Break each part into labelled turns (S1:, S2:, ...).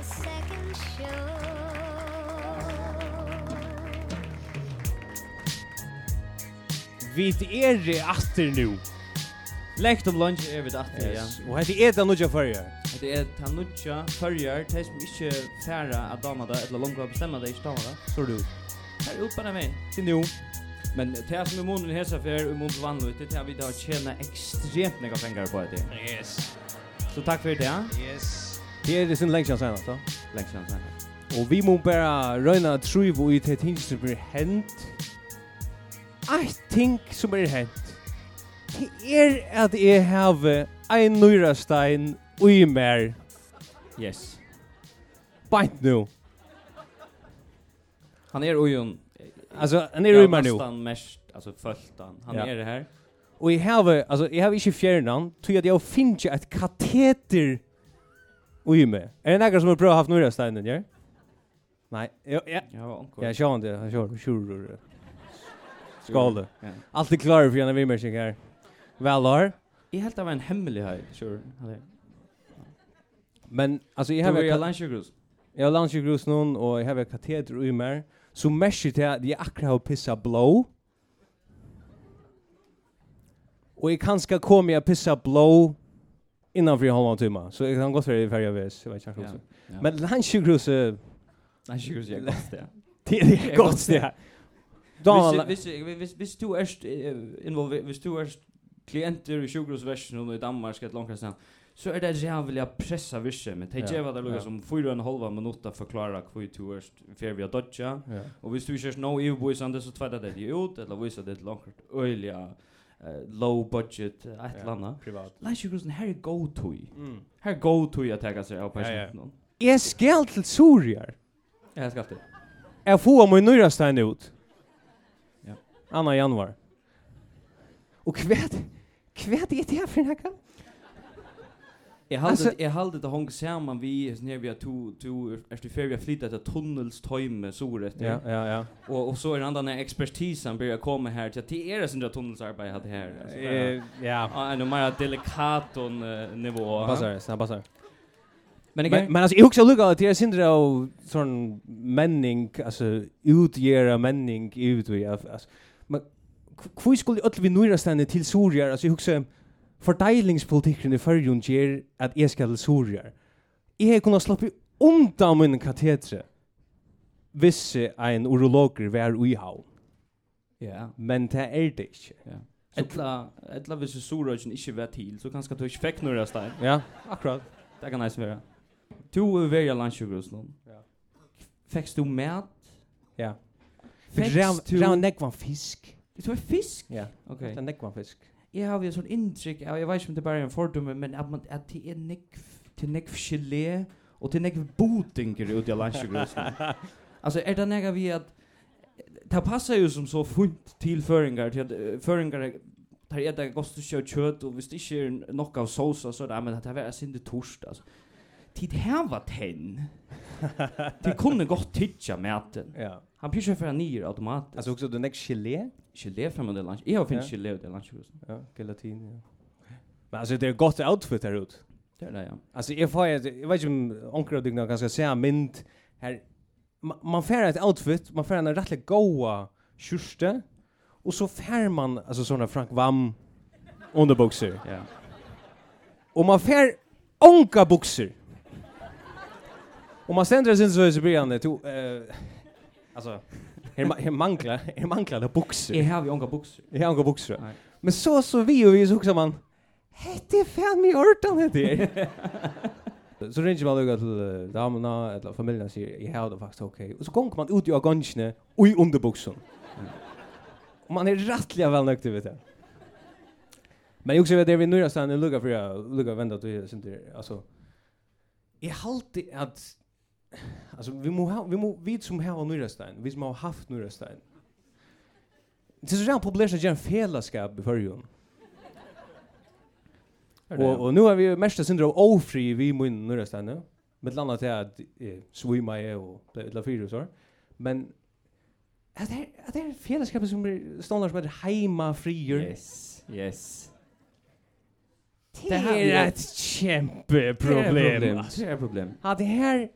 S1: second show
S2: Vi er i atter nu.
S3: Lengt om lunch er vi datter, ja.
S2: Yes. Og hette er det nødja fyrir.
S3: Det er ta nutja, førjar, de som ikke færa at dama det, eller langt å bestemme det, ikke dama det.
S2: Så du.
S3: Her er oppe med.
S2: Til nu.
S3: Men det er som i måneden hesa fer, og i måneden vanlig, det er vi da tjene ekstremt nega penger på det.
S2: Yes.
S3: Så takk for det,
S2: Yes. Det er det sin lengt siden så.
S3: lengt siden sen.
S2: Og vi må bare røyna truiv og i til ting som blir hent. Eit ting som blir hent. Det er at jeg have ein nøyrastein ui mer
S3: Yes.
S2: beint nu.
S3: Han er ujun.
S2: Altså, han er ui mer nu.
S3: Nästan mest, alltså följt han. Han
S2: Ja.
S3: är det här.
S2: Og jeg have, altså, jeg have ikke fjernan, tog at jeg finner ikke et kateter ui mer. Er det nekker som har prøvd å haft nøyrasteinen, ja? Nei, ja, ja.
S3: Ja, ankor.
S2: Ja, sjåan det, han sjåan, sjåan, skål.
S3: Ja.
S2: Allt är klar för en vimmersing här. Väl har.
S3: Jag helt av en hemmelig här. Sure. Hade.
S2: Men alltså jag
S3: Jag har
S2: har
S3: ju
S2: jag
S3: lunchgrus.
S2: jag har lunchgrus någon och jag har ett kateter i mer. Så mesh det att jag akra har pissa blå. Och jag kan ska komma jag pissa blå innan för halva timma. Så jag kan gå för det för jag vet, jag vet inte. också. Men lunchgrus eh,
S3: lunchgrus är er gott det.
S2: det är
S3: är
S2: gott det. här. Då
S3: Hvis hvis hvis du erst involver hvis du erst klienter i sjukgrusversionen i Danmark ett långt sen så är det jävla pressa visse men
S2: Ja,
S3: det ger vad det
S2: ja.
S3: lukar som 4,5 minuter förklara hur du erst för vi har dodja Og hvis du ikke er noe i boisande, så tveida det de ut, eller viser det til langt øyliga, eh, low budget, eh, et eller annet.
S2: privat.
S3: Leisjegrusen, her er go-tui.
S2: Mm.
S3: Her er go-tui at tega seg av
S2: Ja, ja.
S3: personen.
S2: Jag ska till Surier.
S3: Ja, jeg skal alltid.
S2: Jag får min nya stein ut.
S3: Ja.
S2: Anna januar. Och kvärt kvärt är det för näka.
S3: Jeg
S2: Altså-
S3: halde, jeg halde det hong saman vi, sånn her vi har to, to, er stu fer vi har flyttet til tunnelstøyme, sår etter.
S2: ja, ja.
S3: Og, og så er andre denne ekspertisen byrja komme her til at det er sånn der tunnelsarbeid jeg hadde her. Altså,
S2: Eh,
S3: det er-
S2: ja.
S3: Ah, en mer delikaton eh, nivå.
S2: Passar, snabbt passar.
S3: Men jeg
S2: Men, men alltså jag också lukar att det är syndra av sån männing, alltså utgöra männing ut och jag, alltså. Men k- hur skulle öll vi nöjra stanna till Surier? Alltså jag också fordelingspolitiken i förrjun ger att jag ska till Surier. Jag har kunnat slappa undan min katetre hvis eh, ein urologer var i havn.
S3: Ja.
S2: Men det er det ikke.
S3: Ja.
S2: Så-
S3: Etla, etla hvis Sorøyken ikke vet til, så kanskje du ikke fikk noe resten.
S2: Ja, akkurat.
S3: Det kan jeg være. Du er veldig landsjøgrus nå.
S2: Ja.
S3: Fikk du mat?
S2: Ja.
S3: Fikk du...
S2: Ræv nekvan fisk.
S3: Du er fisk?
S2: Ja,
S3: Ok.
S2: det er nekvan fisk.
S3: Jeg har jo sånn inntrykk, og jeg vet ikke om det bare er en fordom, men at, man, at det er nekv, det er nekv gelé, og det er nekv botinger ute i landsjøgrus Altså, er det nekv vi at Det passar ju som så fint til føringar, til at eh, føringar tar er det godt å kjøre kjøtt, og hvis det ikke er nok av sosa, så er det, "Ah, men det er sinde torst, altså. Tid heva tenn. Det kunne godt tidja maten.
S2: Ja.
S3: Han blir ikke fra nyer automatisk.
S2: Alltså också du nekk gelé.
S3: Gelé fra med det lunch. Jeg har finnet
S2: Ja.
S3: gelé ut i lunchhusen.
S2: Ja, gelatin, ja. Men alltså det är gott outfit här ut.
S3: Det er det, ja.
S2: Alltså jag får jag vet inte om onkra och dygna ganska säga mint här Ma- man får ett outfit, man får en rättligt goa kjurste och så får man alltså såna Frank Vam underboxer.
S3: ja.
S2: Och man får onka boxer. Och man ständer sin så i början to eh alltså här ma- här manglar här manglar det boxer.
S3: Jeg har jo unga bukser.
S2: Jag har onka boxer.
S3: Nej.
S2: Men så så vi och vi så också man Hette fan i ortan hette er." Så ringer man lukka til eh, damene eller familjen og sier jeg har det faktisk ok. Og så gonger man ut i agansjene og i underbuksen. Og man er rettelig vel nøkt til det. Men jeg også vet det vi nøyre stedet lukka for jeg lukka venda til jeg synes det. Altså, jeg halte at altså, vi må ha, vi må, vi som har nøyre stedet, vi som har haft nøyre stedet, Det er så rent populært å gjøre en fellesskap i førjen. Og, er og nu har vi mest syndrom ofri vi mun nurra stanna. Med landa til at eh, svima jeg og ble utla fyra og så. Men at det er, at det er fellesskapet som blir stående som heter heima frier.
S3: Yes. Yes.
S2: Det
S3: Det
S2: er
S3: er
S2: et kjempe problem.
S3: Det er et problem.
S2: Ja, det her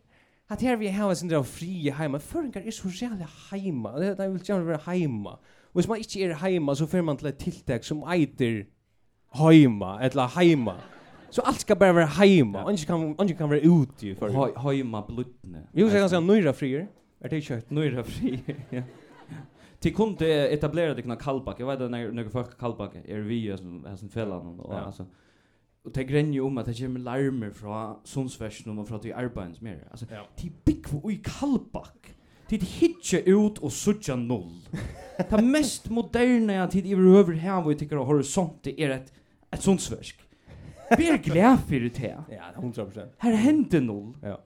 S2: Att här vi har en sån där fri hemma. Föringar är så jävla hemma. Det er det vill gärna vara hemma. Och hvis man inte är hemma så får man till ett tilltag som eiter hemma eller hemma. Så allt ska bara vara hemma.
S3: Ja.
S2: Och inte kan och kan vara ute för.
S3: Hoj hojma blutne.
S2: Vi måste ganska nöjda frier. Är Er det kött?
S3: Nu är det fri. er ja. Till kom det etablerade kna kalbak. Jag vet att när några folk kalbak är vi som har sin fällan och
S2: Ja.
S3: alltså och det gränjer om att det kommer larmer från Sundsvärsen och från till arbets mer. Alltså
S2: Ja.
S3: till big och i kalbak. Till hitcha ut och sucha noll. Det mest moderna er jag tid överhuvud här vad jag tycker av horisont det är ett ett Sundsvärsk. Vi är glad för det här.
S2: Ja, 100%.
S3: Här hände noll.
S2: Ja.
S3: er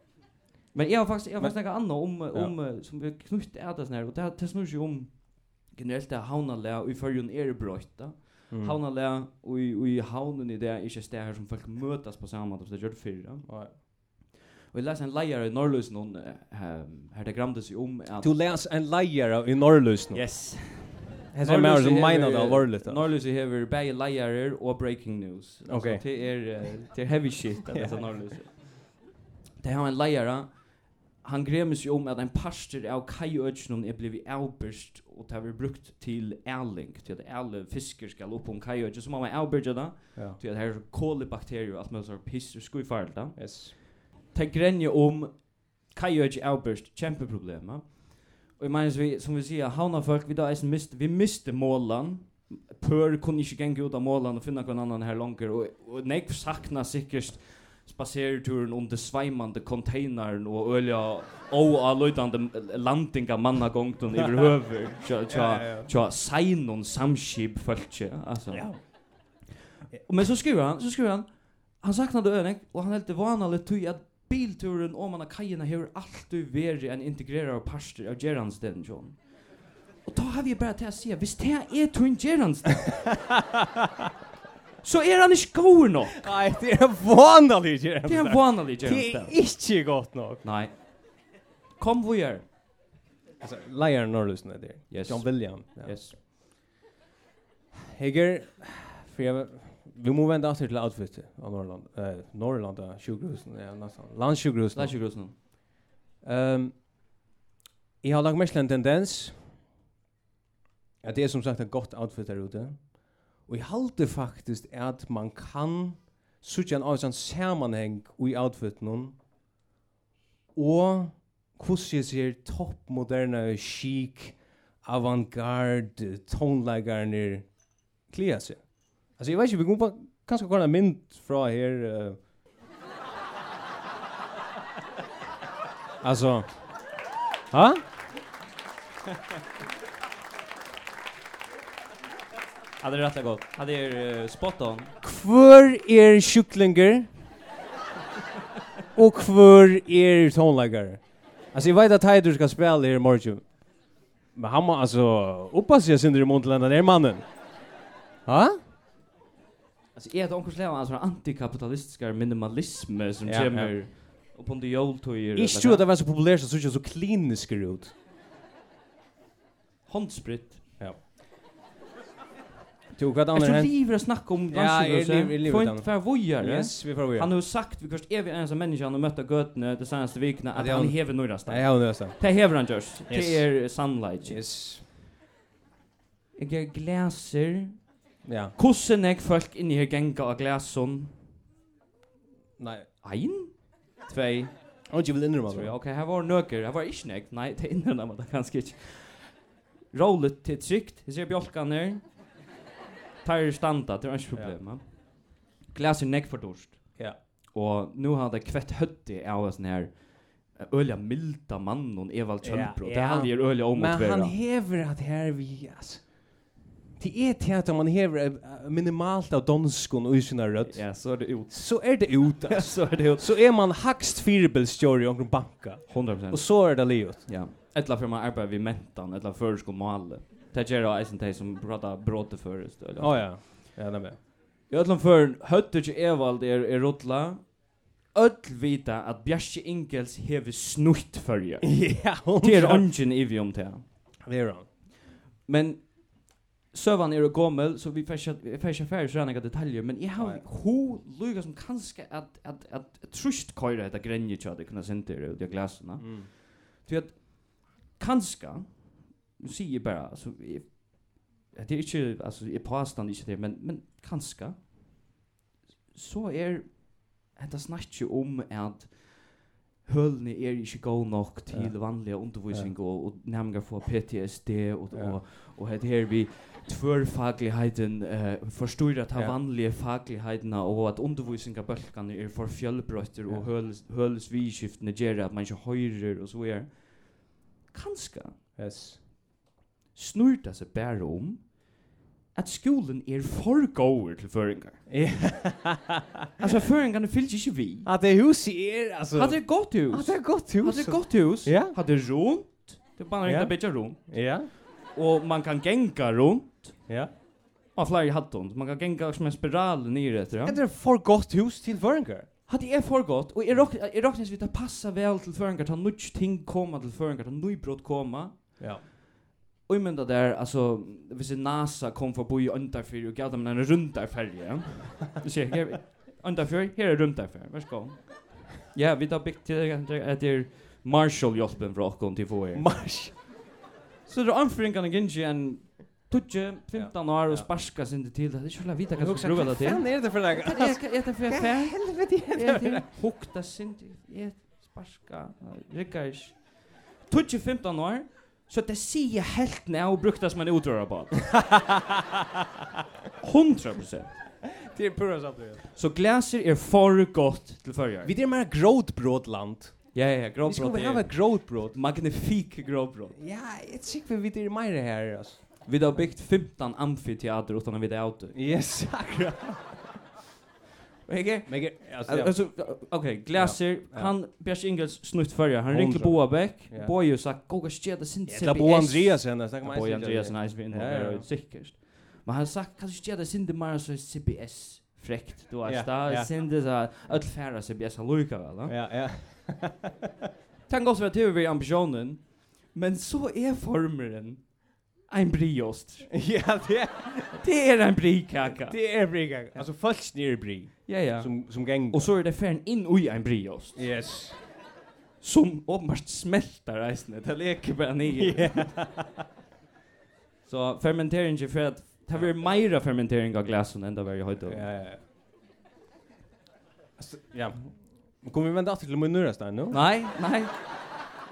S3: Men jag har faktiskt jag har
S2: Men-
S3: faktiskt något annat om
S2: Ja.
S3: om eh, som vi knutit äta sån här och det här- det snurrar ju om generellt det havnalä i er förjun är det bröjt då.
S2: Mm.
S3: Havnalä och i och i havnen i det er är inte städer som folk mötas på samma sätt som det er gjorde förr. ja.
S2: Ja.
S3: Och jag läste en lejare i Norrlös någon eh, ehm, här det gramdes ju om att
S2: Du läs en lejare i Norrlös nu.
S3: Yes.
S2: Här ser man som
S3: Norrlys hever-
S2: menar det allvarligt. då.
S3: Norrlös har bägge lejare och breaking news. Alltså,
S2: Okej.
S3: Det är eh, det är heavy shit er att
S2: Ja.
S3: läsa Norrlös. Det har en lejare Han um gremis ju om att en pastor av er kajötsnum är blivit avbörst och det har blivit brukt till äling, till att alla fiskar ska upp um om kajötsen, så man har avbörjat det,
S2: Ja.
S3: till att det här är kolibakterier och er allt möjligt sånt piss och skojfarligt. Ja.
S2: Yes.
S3: Ta grenje om Kajoj Albert kämpe problem. ja. Och jag menar som vi som vi säger havna folk vi där mist vi miste målan. Pör kunde inte gänga ut av målan och finna någon annan här långt och och nej sakna säkert spaserturen under svämmande containern och ölja och allutande landinga manna gångton över höver. Tja tja tja signon samskip fölkje alltså.
S2: Ja.
S3: Och men så skriver han, så skriver han, han saknade Önek och han helt vanligt tog att bilturen om man har kajerna hör alltid veri en integrerad parster av Gerrandsten, John. Och då har vi bara till att säga, visst det är Tun Gerrandsten? så är han inte god nog.
S2: Nej, det är vanligt.
S3: Det är en vanlig
S2: Det er är
S3: Gerrandsten.
S2: inte gott nog.
S3: Nej. Kom er. vad gör?
S2: Alltså, Lajar Norrlusen är er det.
S3: Yes.
S2: John William.
S3: Yes.
S2: Heger, för jag, vi må vända åter till outfitet av Norrland. Eh, Norrland, ja, sjukhusen, ja, nästan. Landsjukhusen.
S3: Slash Grosen.
S2: Ehm, jag har lagt mest en tendens att det är som sagt ett gott outfit där ute. Och jag halter faktiskt att man kan sucha en avsan sammanhäng i outfit någon och kusje ser toppmoderna chic avantgarde tonläggare klia sig. Alltså jag vet inte, vi kommer på kanske kolla en mynd från här. eh. Alltså, ha?
S3: Ja, det är rätt er gott. Ja, det är spot on.
S2: Hvor er sjuklinger? Og hvor er tonleggare? Altså, jeg vet at Heidur skal spille her i morgen. Men han må altså oppa seg synder i munnen til den her mannen. Ha?
S3: Alltså er är det onkel Slevan alltså antikapitalistiska minimalism som
S2: Ja,
S3: kommer och på de joltojer.
S2: Ikke tro at det var så populært, så synes jeg så klinisk ut.
S3: Handsprit.
S2: Jo, hva
S3: Jag
S2: annet
S3: tror
S2: hen?
S3: livet att snacka om
S2: Ja, jag lever- jag
S3: dansgrusen.
S2: lever
S3: Får
S2: utan.
S3: inte för vojare.
S2: Yes, vi får gå
S3: Han
S2: igjen.
S3: har sagt, vi kanske är vi ens människa han har mött av götene de senaste veckorna,
S2: Ja,
S3: att
S2: det
S3: han
S2: har-
S3: hever några
S2: Nei,
S3: steg.
S2: jeg har nødvendig.
S3: Det hever han just.
S2: Yes.
S3: Det är sunlight.
S2: Yes.
S3: Jag gläser.
S2: Ja.
S3: Kussen jag folk in i här gänga av gläson.
S2: Nei,
S3: Ein? Tvei.
S2: jeg vil ikke vil innrømme
S3: Tror
S2: det.
S3: jag. Okej, här var nöker. Här var inte snägg. Nej, det innan man det ganska inte. Rollet till tryggt. Jag ser bjolkan ner. Tar standa, det var inte problem. Ja. Gläser näck för dorst.
S2: Ja.
S3: Och nu har det kvätt hötti av sån här eh, öliga milda mannen och Evald
S2: Ja,
S3: Kjöldbro.
S2: ja.
S3: Det er hade ju öliga om att
S2: Men han
S3: vera.
S2: hever at her vi, altså. Det er til at man hever eh, minimalt av donskon og sina rødt.
S3: Ja, så är det ut.
S2: Så er det ut, altså.
S3: så är det ut.
S2: Så er man hakst firebelstjør i omkring banka.
S3: 100
S2: Og så er det livet.
S3: Ja. Ettla för man arbetar vid mentan, ettla för sko male. Det är ju eisen dig som pratar bråte förrest.
S2: Å oh, ja. Ja, det med.
S3: I öllum förn höttu ikke Evald er, er rotla Öll vita at Bjarki Ingels hever snutt fyrir
S2: ja, hon
S3: er Det er ongen ivi om det
S2: Det er han.
S3: um Men Søvan er jo gommel, så vi får ikke- vi får ikke færre sånne detaljer, men jeg har
S2: Nei.
S3: ho lykket som kanskje um at, at, at trusht køyre etter grenje til at jeg kunne sende det ut av glasene.
S2: Mm.
S3: För att kanske nu säger jag bara alltså jag- det är inte alltså jag påstår inte det men men kanske så är det snackar ju om att hölne är inte god nog till
S2: Ja.
S3: vanliga undervisning och, och nämligen få PTSD och
S2: Ja.
S3: och, och det här vi tvörfagligheten eh förstår att ha
S2: Ja.
S3: vanliga fagligheten och att undervisningen bulkan är för fjällbrötter
S2: Ja.
S3: och höls höls vi skiftna ger att man inte höjer och så är kanske
S2: Yes.
S3: snur det seg bare om at skolen er for gåer til føringar. Altså, føringene fyllt ikke vi.
S2: Att det er, hus är alltså
S3: Hadde det godt hus?
S2: Hade gott er hus.
S3: Hadde det godt hus?
S2: Ja.
S3: Hadde det rundt? Det er bare
S2: Ja.
S3: riktig bedre rundt.
S2: Ja.
S3: Og man kan genga rundt.
S2: Ja.
S3: Og flere hatt rundt. Man kan genga som en spiral nere etter.
S2: Är
S3: Ja.
S2: Er det för gott hus till Vörngar?
S3: Hadde jeg for godt, og er jeg råknes vidt at passa vel til føringar, ta nudge ting koma til føringar, ta nøybrott koma.
S2: Ja.
S3: Og jeg mynda der, er, altså, hvis NASA kom forbi underfyr og gav dem en rundarferje, ja. Du sier, her, underfyr, her er rundarferje, vær så god. Ja, vi tar bygd til etter Marshall-hjelpen fra åkken til få her.
S2: Mars.
S3: Så det er anføringene gynnsig en 12-15 år
S2: Ja.
S3: og sparska sin det til. Det er ikke vel vita hva
S2: Kan
S3: som bruker det til.
S2: Fan är det för det?
S3: Hva er det etter for jeg fer?
S2: Helvete.
S3: Jeg til hukta sin Jeg sparska Rikka ish 20-15 år Så det sier helt ned og brukte som en utrørabad 100%
S2: Det
S3: er
S2: är pura sant det.
S3: Så glaser er for godt til førjar
S2: Vi det är mer grodbrot land.
S3: Ja, ja, ja,
S2: Vi skulle
S3: gråbrot
S2: ha
S3: er
S2: ett grodbrot.
S3: Magnifik gråbrot
S2: Ja, ett sig för vi det är mer det här alltså.
S3: Vi har byggt 15 amfiteater utan at vi det auto
S2: Yes.
S3: Ikke?
S2: Men alltså ja.
S3: Altså, ok, Glaser,
S2: Ja.
S3: han, Bjørs Ingels snutt førja, han ringte
S2: 100.
S3: Boabek,
S2: Ja.
S3: Boje sagt, gå og skje det sin
S2: Jävla Bo Andreas henne, snackar man.
S3: Boy Andreas nice vinn
S2: Ja, ja,
S3: här
S2: ja.
S3: och säkert. Men han sagt kanske inte det synde mer så CBS fräckt du har
S2: Ja, ja.
S3: stad synde så att färra CBS han lukar väl.
S2: Ja, ja.
S3: Tänk oss vad TV ambitionen. Men så är formelen en briost.
S2: Ja, det er-
S3: Det är en brikaka.
S2: det er är brig. Alltså först ner brig
S3: Ja ja.
S2: som som gäng.
S3: Och så är det färn in i en briost
S2: Yes.
S3: som åpenbart smälter reisende. Det leker bara ner.
S2: Ja.
S3: Så fermenteringen för att Det har varit mera fermentering av glasen än det har varit höjt
S2: Ja, ja, ja. Alltså, ja. Men Kommer vi vända till min nöra stan nu?
S3: Nei, nei.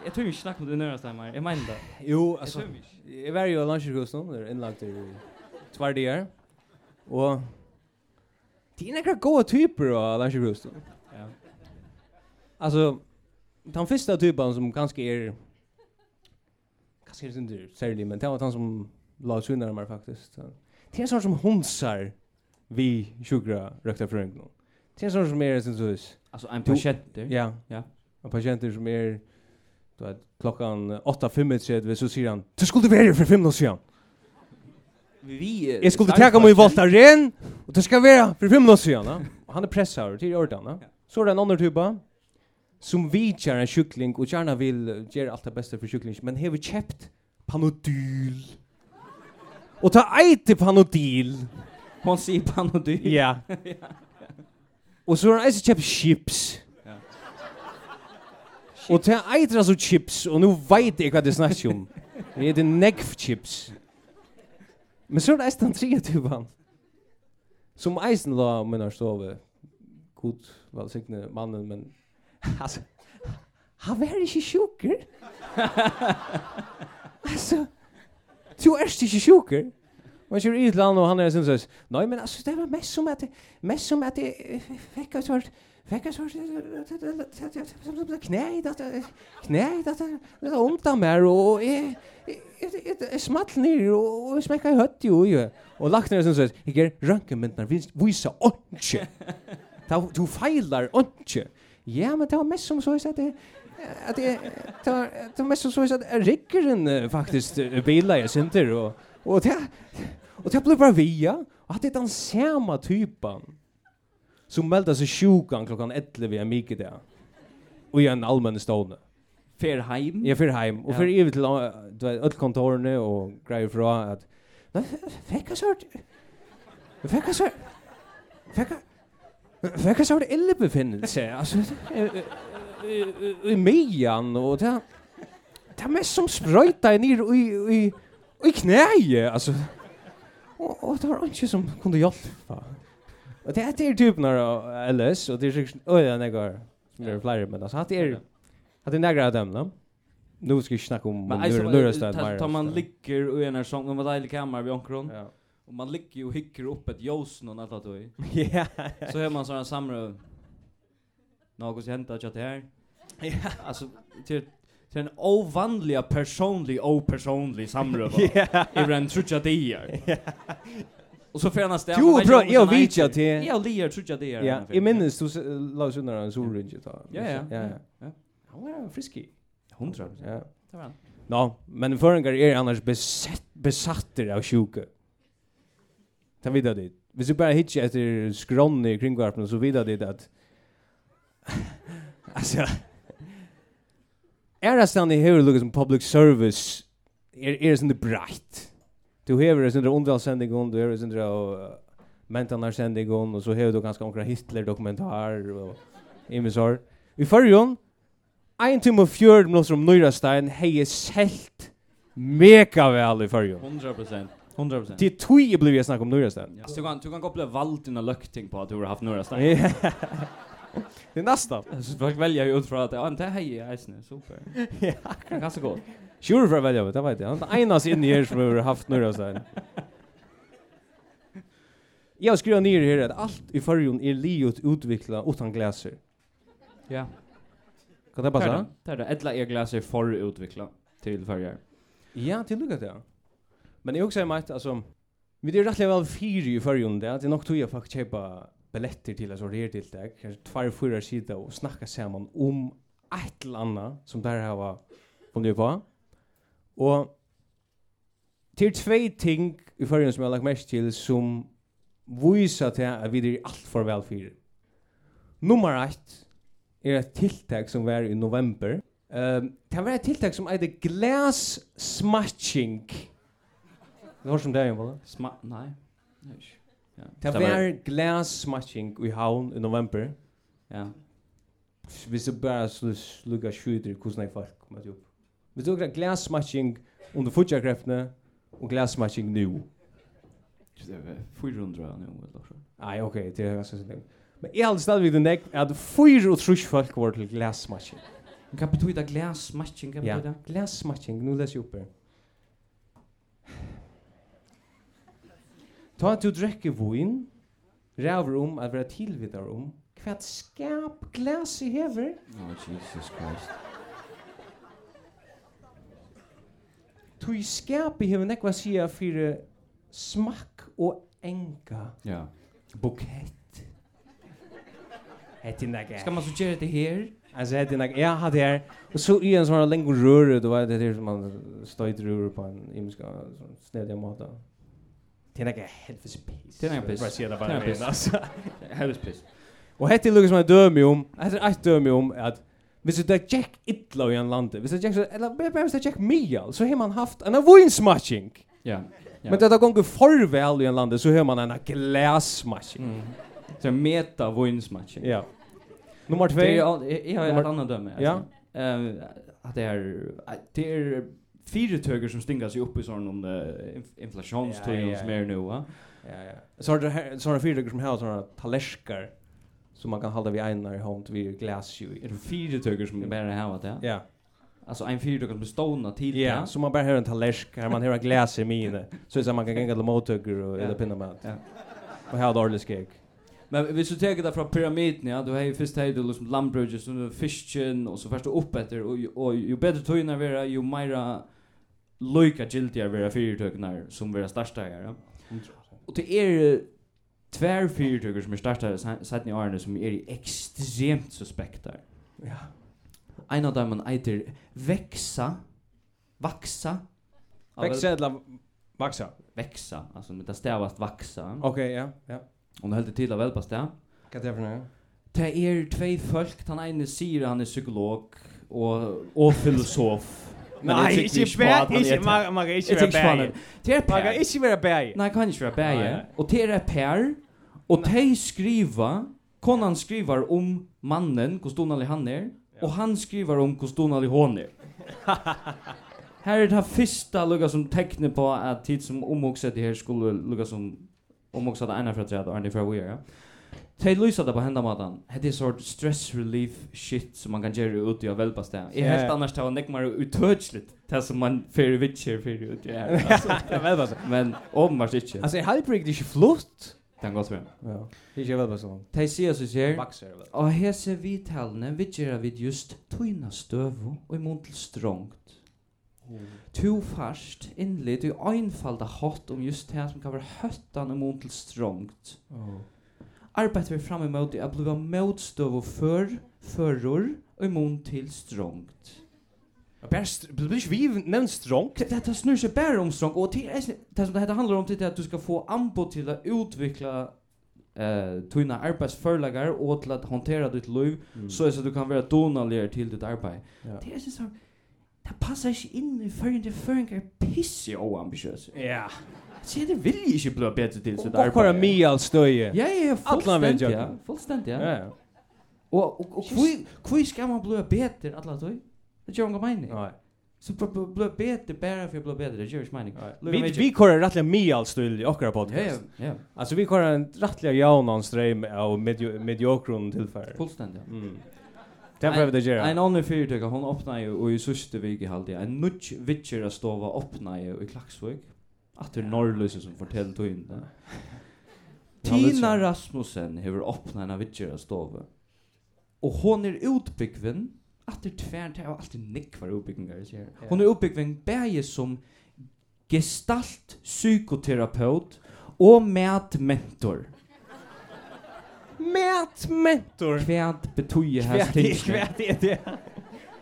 S3: Jeg tror vi ikke snakker om det nøyre stemmer. Jeg mener det.
S2: Jo,
S3: Jeg
S2: alltså
S3: tror vi ikke.
S2: jag var ju lunchsjukhus nu, det är inlagt i två dagar. Och det är några goda typer av lunchsjukhus. då.
S3: Ja.
S2: Alltså den första typen som er, kanske är kanske är inte särlig, er men det var han som la sig undan faktiskt. Så, Det är en sån som hunsar vi sjukra rökta fröng nu. Det är en sån som är sin sus.
S3: Altså, en
S2: Du-
S3: patienter.
S2: Ja.
S3: Ja.
S2: Og patienter som er du vet, klokkan 8.35 så sier han Du skulle være her for 5 minutter siden.
S3: Vi
S2: Jeg skulle teka meg i Voltaren og du skal være for 5 minutter siden. ja. Og han er pressar til ordan.
S3: Ja.
S2: Ja. Så er det en annen type som vitjar en kykling og gjerne vil eh, gjøre alt det beste for kykling men hever kjøpt Panodil. Og ta eit til Panodil.
S3: Hon sier pann og dyr.
S2: Ja. Og så har han eisen kjøpt chips.
S3: Ja.
S2: Og til eitra så chips, og nå veit jeg hva det snakker om. Det er negv chips. Men så er det eisen den tredje tuban. Som eisen la om min har ståve. God velsigne mannen, men... Altså, han var ikke sjuker. altså, du er ikke sjuker. Man kör i ett land och han är sin sås. Nej men alltså det var mest som att mest som att det eh, fick ett sort fick ett sort knä i detta knä i detta det er var ont där mer och är small ner och smäcka i hött ju ju och lagt ner sin sås. Jag ger röntgenmyndnar visa onche. Ta du feilar onche. Ja men det var mest som så att det att det tar det eh, mest som så att rycker faktiskt bilar jag synter och och det Och det blev bara via att det är er den samma typen som meldde sig sjukan klockan 11 via Mika där. Och i en allmän stående.
S3: Fer heim.
S2: Jag för hem och för
S3: Mm. Ja.
S2: eh, evigt till äh, du vet öll kontorne och grejer fra att Nei, fekk jeg sørt. Fekk jeg sørt. Fekk jeg... Fekk jeg sørt illebefinnelse, altså. eh, eh, eh, I meian, og det... Det er mest som sprøyta i nir i, i, i knæje, altså. Og, og det var ikke som kunne hjelpa. Og det er det er typen av LS, og det er sikkert øya negar som er flere, men altså, hatt er... Hatt er negra av dem, da. Nu skal vi ikke snakke om
S3: Men
S2: Nure-
S3: alltså
S2: Nurestad.
S3: tar man
S2: Marius.
S3: ligger i en här sång om en dejlig kammare vid omkron
S2: Ja.
S3: och man ligger och hickar upp ett ljus någon att ta i.
S2: Ja.
S3: Så hör man sådana samröv. Något som hänt att jag det här. Ja. Alltså till till en ovanliga personlig opersonlig samröv.
S2: Ja.
S3: Över en trutja dier. Och så får jag nästa.
S2: Jo, bra, jag vet ju att det
S3: Jag och Lier trutja dier.
S2: Ja, jag minns du s- la oss under en solringe ta.
S3: Ja, ja.
S2: ja.
S3: ja.
S2: Han var friskig.
S3: Hundra.
S2: Ja.
S3: Ja. Det var han.
S2: Nå, men föringar är annars besett, besatter av sjuka. Ta vidare dit. Hvis du bara hittar efter skrån i kringvarpen så vidare dit att alltså Är det stanna i hur lukar som public service är är det sånt bright. Du hever det sånt underhållssändning och du hever det sånt där mentanarsändning och så hever du ganska omkring Hitler dokumentar och imisar. I förrjun Ein tim og fjörd minutter om Nøyrastein hei selt mega vel i fyrjun.
S3: Hundra procent. Hundra procent.
S2: Til tui jeg blei vi snakka om Nøyrastein.
S3: Ja. Så du kan, du kan koppla valt dina lökting på att du har haft några stark.
S2: Det er næsta.
S3: Så folk väljer ju utifrån att, ja, det här är ju Eisner, super.
S2: Ja.
S3: Det är ganska gott.
S2: Sjur for å velja vet, det veit jeg. Han er einas inn i her som har haft Nøyrastein. Jeg har skriva nir her at alt i fyrjun er liot utvikla utan glaser.
S3: Ja.
S2: Kan det
S3: Det är
S2: passa?
S3: det. Det är det. Edla e-glas är för utveckla till färger.
S2: Ja, til lukka det. Men jeg også er meit, altså, vi er rettelig vel fire i fyrjun det, at det er nok tog jeg faktisk kjeipa billetter til, altså her til deg, kanskje tvær fyra sida og snakka saman um om eit eller anna som der hava funnet på. Og til tvei ting i fyrjun som jeg har lagt mest til som vysa til at vi er alt for vel fire. Nummer eit er et tiltak som var i november, Ehm, det var ett tiltak som heter glass smashing. Det var som det var.
S3: Sma... Nej. Nej. Ja.
S2: Det var glass smashing i havn i november.
S3: Ja.
S2: Hvis du bara slugga skjuter hvordan jeg folk møtte opp. Hvis du har glass smashing under futjakreftene og glass smashing nu.
S3: Det är 400 nu, eller så.
S2: Nei, ok, det er ganske sånn. Men jeg hadde stadigvæk den ek at fyra og trus folk var til glass smashing.
S3: Men kan betyda glas, matching, kan
S2: Ja,
S3: betyda?
S2: glass smashing, nu läser jag upp här. Ta att du dricker vin, räver om att vara tillvidare om kvart skap glas i hever.
S3: Oh, Jesus Christ.
S2: Tui skap i hever nekva sia fyrir smakk og enga
S3: Ja.
S2: bukett. Hette nekka.
S3: Ska man så göra det här?
S2: Alltså hette nekka, ja, hade här. Och så i en sån här länge röre, du vet, det är som man stöjt röre på en imiska snediga måta. Det är nekka helfes piss.
S3: Det är en piss.
S2: Bara sia det bara.
S3: Det är en piss.
S2: Alltså.
S3: Helvespiss.
S2: Og hette er lukka som er dømi om, hette er eit dømi om at hvis du tjekk illa i en lande, hvis du tjekk, eller bare bare hvis du tjekk mial, så har man haft en avinsmatching.
S3: Ja. Ja.
S2: Men det er gonger forvel i en lande, så har man en glasmatching.
S3: Mm. Så en meta voinsmatching.
S2: Ja. Nummer
S3: Det är,
S2: tvei.
S3: jag, jag har ett
S2: Nummer-
S3: annat döme.
S2: Ja.
S3: Uh, att det är, att det är fyra töger som stingar sig upp i sån om uh, inflationstiden
S2: Ja, ja,
S3: som
S2: ja.
S3: är nu. Va?
S2: Ja, ja. Så har du her- så har du fyra dykker som har sånne talerskar som man kan halda vid einar i hånd vid glasju
S3: Är
S2: i.
S3: det fyra töger som bara har varit det?
S2: Ja.
S3: Alltså en fyra töger som är stående till
S2: Ja, så man bara har en talersk, her man har glas i mine, så är man kan gänga till mottugger och
S3: Ja.
S2: eller pinna mat.
S3: Ja.
S2: Och här har du ordentlig skeg.
S3: Men hvis du teker det fra pyramiden, ja, du har jo først her, du liksom landbruket, så du fisken, og så først du opp etter, og, jo- og jo bedre tøyene vera, jo meira loika gildier vera fyrtøkene som vera starstøyere. Ja. Og det er tvær fyrtøkker som er startet sett i årene som er ekstremt suspekter.
S2: Ja.
S3: En av dem eiter Veksa, Vaksa,
S2: Växa eller vaxa.
S3: Veksa, altså med det stavast Vaksa.
S2: Okej, ja, ja.
S3: Og det heldig til å velpast det.
S2: Kan er det förna?
S3: Det er tvei folk, han ene sier han er psykolog og, og filosof.
S2: Nei, ikke bæg, ikke, man man kan ikke
S3: Jeg tykker
S2: være
S3: ikke
S2: bæg.
S3: på det. Det er
S2: Man kan
S3: pær.
S2: ikke være bæg.
S3: Nei, kan ikke være bæge.
S2: Nei.
S3: Og det er pær. Og de skriva, konan skriver om mannen, hvordan donalig han er, og han skriver om hvordan donalig hon er. Her er det første lukka som tekne på at tid som omhokset det her skulle lukka som omhokset det ene fra tredje, og ene fra vi er, ja. Tei lysa det på henda matan. Het er sort stress relief shit som man kan gjøre ute i av velpastet. Jeg
S2: Ja,
S3: helt
S2: ja.
S3: annars det var nekmar utødsligt det som man fyrir vitsjer fyrir ute i her. altså.
S2: Det er veldig sånn.
S3: Men åpenbart ikke.
S2: Altså, jeg halper ikke, det er ikke flott.
S3: Det kan godt være.
S2: Ja, det er ikke veldig sånn.
S3: De sier så sier,
S2: Bakser, vel.
S3: og hese vidtalene vi gjør vi just tøyna støvu og i munn til strongt.
S2: Mm.
S3: To fast innlitt og einfalda um hatt om just det som kan være høttan og munn til strongt. Arbeider vi fram imot i at bliva motstøvu før, føror og i munn til strongt.
S2: Det blir ikke vi nevnt strong.
S3: Det, det, det snur seg bare om strong, og til, det som det handler om til det er at du skal få anbud til å utvikle eh tøyna arbeidsførlegar og til at håndtera ditt liv så är så du kan vara donaligare till ditt arbete.
S2: Ja.
S3: Det är så så det passar inte in i förrän det förrän är er pissig och ambitiös.
S2: Ja.
S3: Se det vill ju inte bli bättre till sitt
S2: Og hva er mye all støye?
S3: Ja, ja, ja, fullständigt.
S2: veggen.
S3: Ja, fullständigt. Ja.
S2: Ja, ja.
S3: Och och och hur hur ska man bli bättre alla då? Det gör man mening.
S2: Nei.
S3: Så bli- bli bli bättre bara för att bli bättre, det gör ju mening.
S2: Nei.
S3: Luka
S2: Vi,
S3: Magic.
S2: vi kører rettelig mye all støye i akkurat
S3: Ja, ja,
S2: podcast.
S3: ja.
S2: Altså, vi kører en rettelig jaunan streim av medio- mediokron tilfær.
S3: Fullständigt. ja.
S2: Mm. Det prøver det å gjøre.
S3: En annan fyrtøk, hon öppnade ju och i sista veckan i halvtid. En nudge witcher att stova öppnade ju i Klaxvik. Att det är norrlösa som fortäller tog in det. Tina Rasmussen hever öppnat en witcher att stova. Och hon er är utbyggven att det tvärt har alltid nekvar utbyggningar. ser jag. Hon er är utbyggven bäge som gestalt psykoterapeut och mätmentor.
S2: Mät mentor.
S3: Kvärt betyder här
S2: Kvært kvært er det.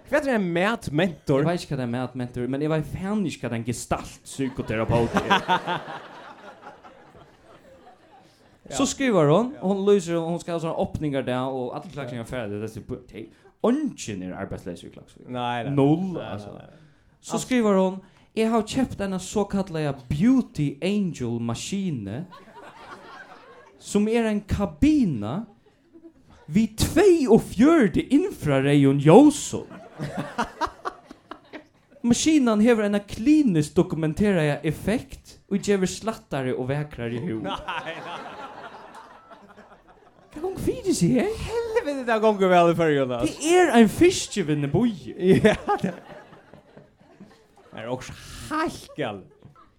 S2: Kvært er en mät mentor.
S3: Jeg vet ikke hva det er med at mentor, men jeg vet fan ikke hva den er gestalt psykoterapeut er. Så skriver hon, og hon lyser, og hon skal ha sånne åpninger der, og alle klagsninger er ferdig, det er så- Hey, Ongen er arbeidsleis i klagsning.
S2: Nei, nei.
S3: Null,
S2: Nei, nei,
S3: altså.
S2: nei.
S3: Så skriver hon, jeg har kjøpt denne såkallade Beauty Angel maskine, som er en kabina vi tvei og fjørde infrareion Jåsson. Maskinan hever en klinisk dokumenterad effekt og gjever slattare og vekrare hu. Hva gong fyrir seg her?
S2: Helvete, det gonger vel i fyrrjun, altså.
S3: Det er en fiskjevinne boje.
S2: Ja, det. Det er også helt gal.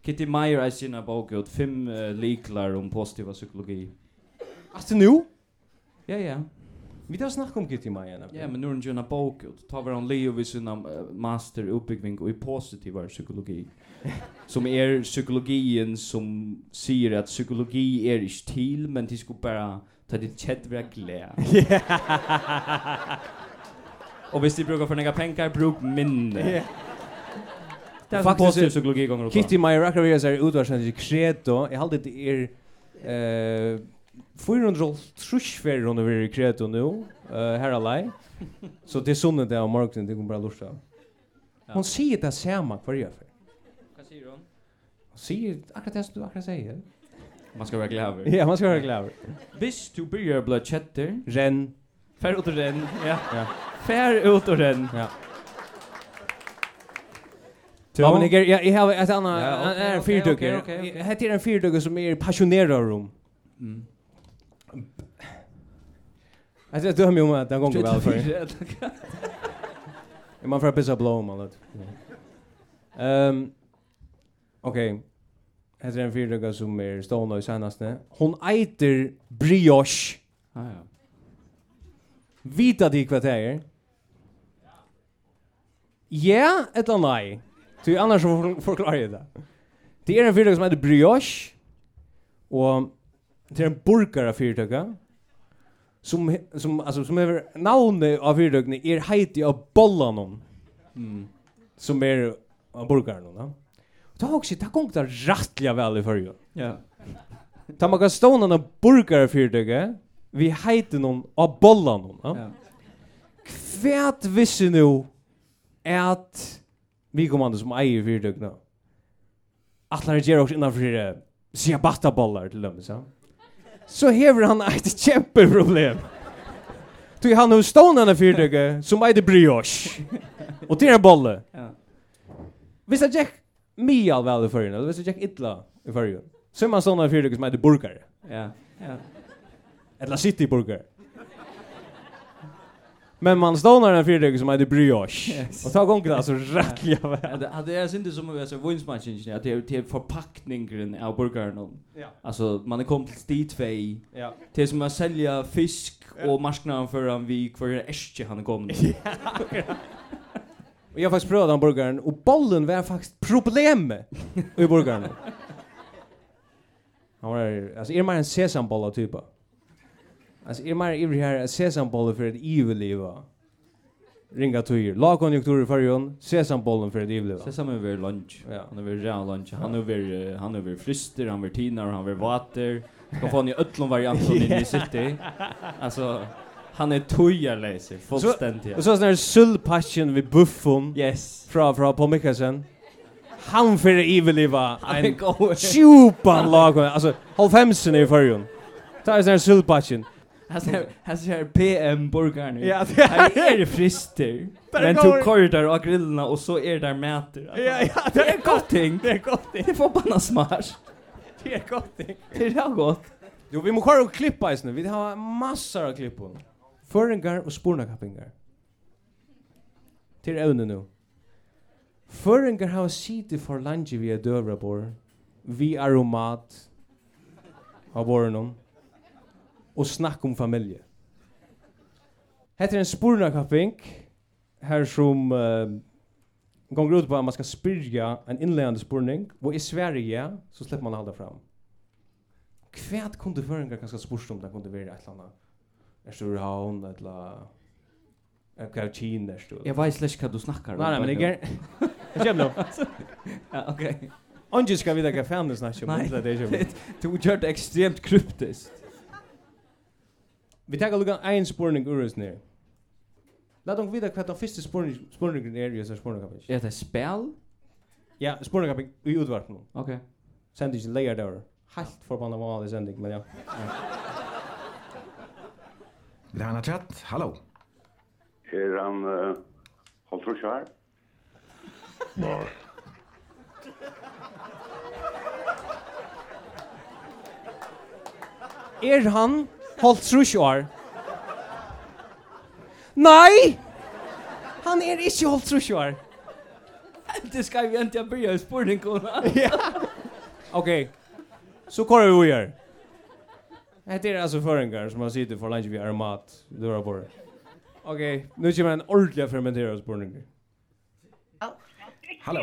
S3: Kitty Meyer er sina bok ut fem uh, liklar om positiva psykologi.
S2: Altså nu,
S3: Ja, ja.
S2: vi tar snakk om Kitty Maja. nemlig.
S3: Ja, men nu er hun gjerne bok ut. Ta var han Leo vid sina eh, master uppbyggning og i positiva psykologi. Som er psykologien som sier at psykologi er ikke til, men de skulle bare ta ditt kjett ved glede. Og hvis de bruker for nega penger, bruk minne.
S2: Ja.
S3: Det er som
S2: Faktisk
S3: positiv
S2: er-
S3: psykologi ganger opp.
S2: Kitty Maja rakkar vi oss er utvarsendig kredo. Jeg halde det er... eh, 400 trusfer hun over i kredo nu, eh, her alai. Så det er sunnet det av morgenen, det kommer bare lort av. Hon sier det samme hver jeg for.
S3: Hva sier hun?
S2: Hon sier akkurat det som du akkurat sier.
S3: Man skal være glad.
S2: Ja, man skal være glad.
S3: Hvis du blir blå kjetter,
S2: er Renn.
S3: Fær ut og renn. Ja.
S2: Ja.
S3: Fær ut og renn.
S2: Ja. Ja, men
S3: Ja.
S2: jag är- jag jag har ett annat
S3: Ja,
S2: en-
S3: okej,
S2: en
S3: okej, okej,
S2: fyrdugge.
S3: okej, okej.
S2: Det är en fyrdugge som är passionerad om.
S3: Mm.
S2: Alltså jag dömer om att den gånger väl för.
S3: Fyrre.
S2: Man får pissa blå om allt. Ehm Okej. Det är en fyrdugge som är stående i senaste. Hon äter brioche.
S3: Ah, ja.
S2: Vita dig vad det er? är. Ja, eller nej. Ty annars så for- förklarar jag det. Det är en fyrdöga som heter brioche. Och det är en burkare fyrdöga. Som, he- som, alltså, som är navnet av fyrdögna är heiti av bollanon.
S3: Mm.
S2: Som är av burkaren. Ja. Det har också, det har gått rättliga väl i förrjun.
S3: Ja.
S2: Ta man kan ståna en burkare fyrdöga. Vi heiti någon av bollanon. Ja.
S3: Ja.
S2: Kvært vissi nu at vi kommande som eier fyrtøkna. Atlar gjør også innanfor uh, sida battabollar til dem, så. Så hever han eit kjempeproblem. Tui han har stående fyrtøkke som eit brioche. Og til en bolle.
S3: Ja.
S2: Hvis jeg tjekk mye vel i fyrrjun, eller hvis jeg tjekk idla i fyrrjun, så er man stående fyrtøkke som eit burgare.
S3: Ja. Ja.
S2: Eller cityburger. Men man stånar en fyrtøkke som eit brioche.
S3: Yes.
S2: Og ta gongen altså rettelig av
S3: Ja, det- Det är synd som vi så vinsmatchen att det är till förpackningen av burgaren.
S2: Ja.
S3: Alltså man är kom till stit två.
S2: Ja.
S3: Det är som att sälja fisk och marknaden för en vik för en äske han kom.
S2: Och jag har faktiskt prövat den burgaren och bollen var faktiskt problem i burgaren. Han var alltså är man en sesambolla er typ. Alltså är man i här en sesambolla för ett eviliva. Ringa tur. Lagkonjunktur i förrjun, sesambollen för ett eviliva.
S3: Så samma över lunch.
S2: Ja.
S3: Han över real lunch. er Han över han över frister, han över tinar, han över vater. Ska få ni öllon varianten inne i city. Alltså er han är tojarläser fullständigt.
S2: Och så sån här sullpatchen vid buffon
S3: Yes.
S2: från från Paul Mikkelsen. Han för eviliva.
S3: Han
S2: en-
S3: är god.
S2: Sjupan lag. Alltså halv femsen i förrjun. Ta er en sån här sullpatchen.
S3: Han ser han ser PM burgaren.
S2: Ja, det er-
S3: Här är det frister.
S2: Där
S3: Men
S2: går-
S3: du korridor och grillorna och så är där mäter.
S2: Ja, ja,
S3: det är gott ting.
S2: Det er- är gott.
S3: Det är förbannat smart.
S2: Det är gott.
S3: Det är
S2: er
S3: rätt gott.
S2: Jo, vi må kvar og klippa eisne. Vi har massar av klippon. Føringar og spornakappingar. Til evne nu. Føringar har siti for langi vi er døvra bor. Vi aromat av borenom. Og snakk om familie. Hette er en spornakapping her som uh, gonger ut på at man skal spyrja en innleggende spurning. Og i Sverige så slipper man halda fram. Kvært kunde føringar ganska spurst om det kunde vera ett landa. Er stor havn ett la en kautin där stor.
S3: Jag vet slash vad du snackar om.
S2: Nej nej men det är Jam då.
S3: Ja, okej.
S2: Onge ska vi där fan det snackar om
S3: Nej.
S2: det där jam.
S3: Du gjorde det extremt kryptiskt.
S2: Vi tar lukka ein spurning ur oss ner. Lat dem vita kvært den fyrste spurning spurningen er ju så spurning
S3: Är det spel?
S2: Ja, spurning kaping i utvarpen.
S3: Okej.
S2: Send dig layer där. Halt förbannad vanlig sending men ja.
S1: Lærna tjatt, hallå.
S4: Er han uh, holdt for kjær?
S2: Er han holdt trus år? Nei! Han er ikke holdt trus år.
S3: Det ska vi inte börja i spårning kolla.
S2: Ok, så kårer vi her. Hette er altså føringar som har sittet for lunch vi er mat, døra på det. Ok, nu kommer en ordentlig fermenterad spurning.
S1: Hallå.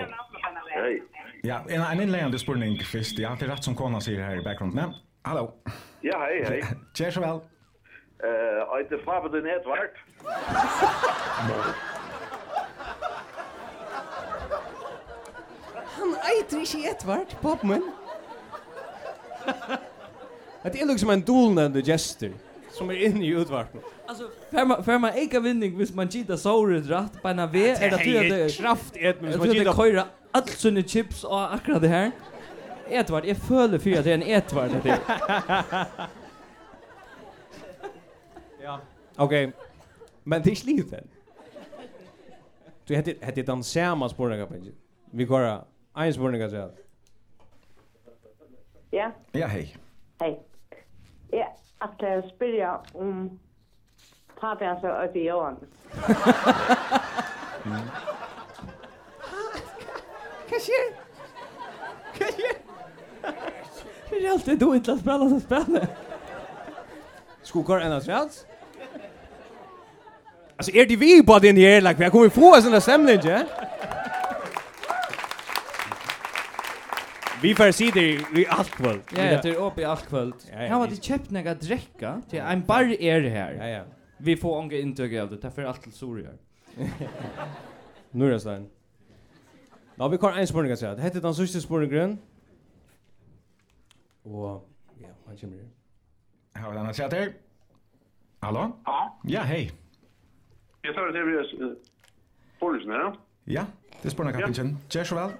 S4: Hei.
S1: Ja, en, en innledande spurning först. Ja, det är rätt som Kona säger här i bakgrunden. Hallå.
S4: Ja, hei, hei.
S1: Tjär så väl.
S4: Uh, er det Faber den Edvard?
S2: Han eiter ikke Edvard, popmen. Det er liksom en dolnende gestur som er inne i utvarpen.
S3: Alltså för man för man eka er vinning hvis man gita såret rätt på en V är er det att det
S2: kraft et, men
S3: Jag
S2: som
S3: tror
S2: man
S3: att det
S2: gillar
S3: köra allt såna chips och akkurat det här. Edvard, jag följer för att det är en Edvard det är.
S2: Ja. Okej. Men er det är sliten. Du hade hade den samma spårningar på. Vi går en spårning så att.
S5: Ja,
S1: Ja, hej.
S5: hei. Jeg ætla å spyrja om papi hans og Øyde Johan.
S3: Det är alltid då inte att spela så spela.
S2: Ska vi gå en att? Alltså är det vi på den här like vi kommer få oss en stämning, ja? Vi får se det i allt väl.
S3: Ja, ja, det är uppe i allt kväll.
S2: Ja, ja,
S3: Han har
S2: vi-
S3: inte köpt några dräcka. Det är en bar är det
S2: Ja
S3: här.
S2: ja.
S3: Vi får ånga intryck av det. Därför är allt till sorger.
S2: Nu är det sen. Då vi kör en spårning så att. Hette den sista spårningen. Och ja, man kommer. ju.
S1: Här var Lärna tjatt här. Hallå.
S4: Ja.
S1: er. Ja, hej.
S4: Jeg tar det til vi er uh, Fornesen, eh, ja?
S1: Ja. Det spurnar kappingen. Gjør så vel.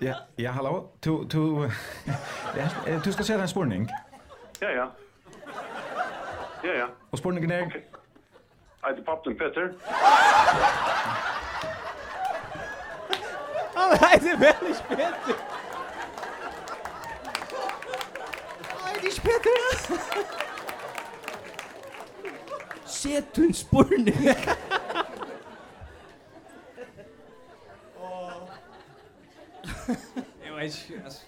S1: Ja, ja, hallo. Du, du, ja, eh, du skal se deg en spurning.
S4: Ja, ja. Ja, ja.
S1: Og spurningen er,
S4: Jeg heter Papten Petter.
S2: Han heter vel ikke Peter. Han heter er ikke Peter.
S3: Set du en spurning?
S2: Jeg vet ikke, altså.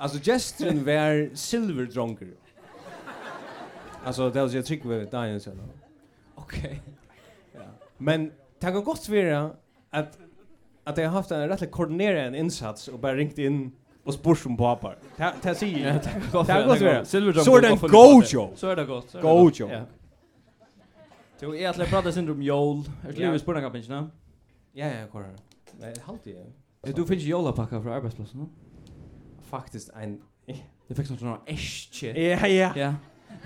S2: Alltså gesturen var silverdronker. Alltså det er var jag tycker vi Daniel sen. Okej. Ja. Men det kan gott vara att att jag har haft en rätt koordinerad insats och bara ringt in och spurt om papar. Det det säger jag. Det kan gott vara.
S3: Silverdrum.
S2: Så er det en god joke.
S3: Så er det godt. så er det
S2: God
S3: godt,
S2: joke.
S3: ja. Jo, jeg ætla å prate synd om jól. Er det
S2: Ja.
S3: livet spurning kappen, ikke?
S2: Ja ja, er korrekt. Nej, halt det.
S3: Du finnes jólapakka fra arbeidsplassen, no?
S2: Faktiskt en
S3: Du fikk sånn sånn eskje.
S2: Ja ja.
S3: Ja.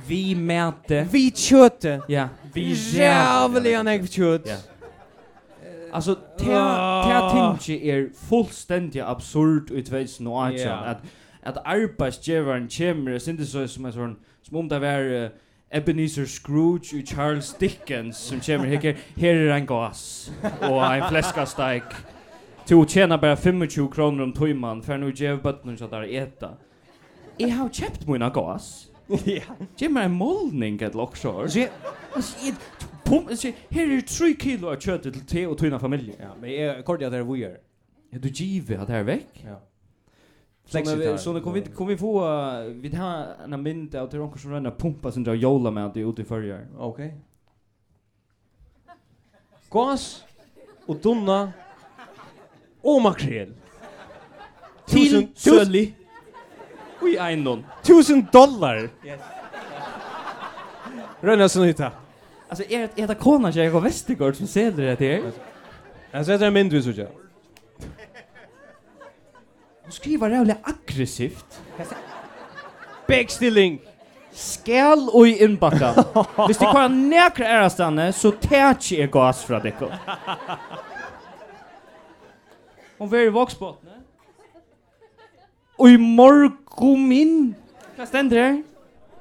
S3: Vi mæte.
S2: Vi kötte.
S3: Ja.
S2: Jävligen jag kött.
S3: Ja. Altså,
S2: Ah.
S3: ta tingi er fullstendig absurd i 2018,
S2: Ja.
S3: at, at arbeidsgiveren kommer, jeg synes det er som en sånn, som om det var eh, Ebenezer Scrooge og Charles Dickens som kommer her, her er en gass og en fleskasteik, til å tjene bare 25 kroner om tøyman, for nå gjør bøttene ikke at det er eta. Jeg har kjøpt mine gass.
S2: Ja.
S3: Gjør meg en målning et loksår.
S2: Så jag-
S3: Altså, jeg- pum- altså, Her er 3 kilo av kjøttet til te og tøyna familie.
S2: Ja, er men jag kort jag där vi är.
S3: Ja, du giver at det er her vekk.
S2: Ja.
S3: Sånne, sånne, kom, er vi, kom vi få, uh, vi tar en mynd av til onker som renner pumpa sin drar jola med at de er ute i førjar.
S2: Okej. Gas och tunna och makrel.
S3: Til
S2: Tusen- tusen-
S3: Sølli. Ui, einon.
S2: Tusen dollar. Yes. Rönna snyta.
S3: Altså, er, er det kona ikke jeg og Vestegård som ser det her?
S2: Jag sätter en mindre så jag.
S3: Hun skriver rævlig aggressivt.
S2: Bäckstilling.
S3: Skal ui innbakka. Hvis de kvar nekra ærastane, så tætje er gas fra dekko. Hun var i voksbåtene. Ui, morgum min. Hva stender her?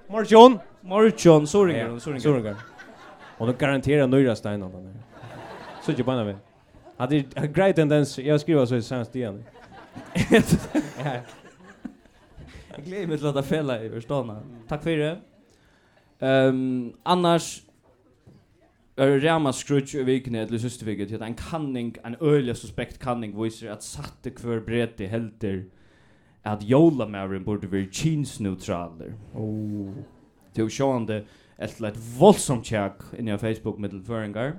S2: Morgon.
S3: Morgon, så ringer
S2: Ja,
S3: hon, så ringer hon.
S2: Soringar. Och då garanterar nöjda stenar på mig. Så jag bara med. Hade en great tendens. Jag skriver så i svensk igen.
S3: Jeg gleder meg til at jeg feller i forstående. Takk for det. Um, annars, er Rama Scrooge i vikene til siste viket til at en kanning, en øyelig suspekt kanning, viser at satte hver brete helter at jolamæren burde være kinsneutraler.
S2: Oh.
S3: Til å sjå han det etter et voldsomt tjekk inni av Facebook-middelføringar.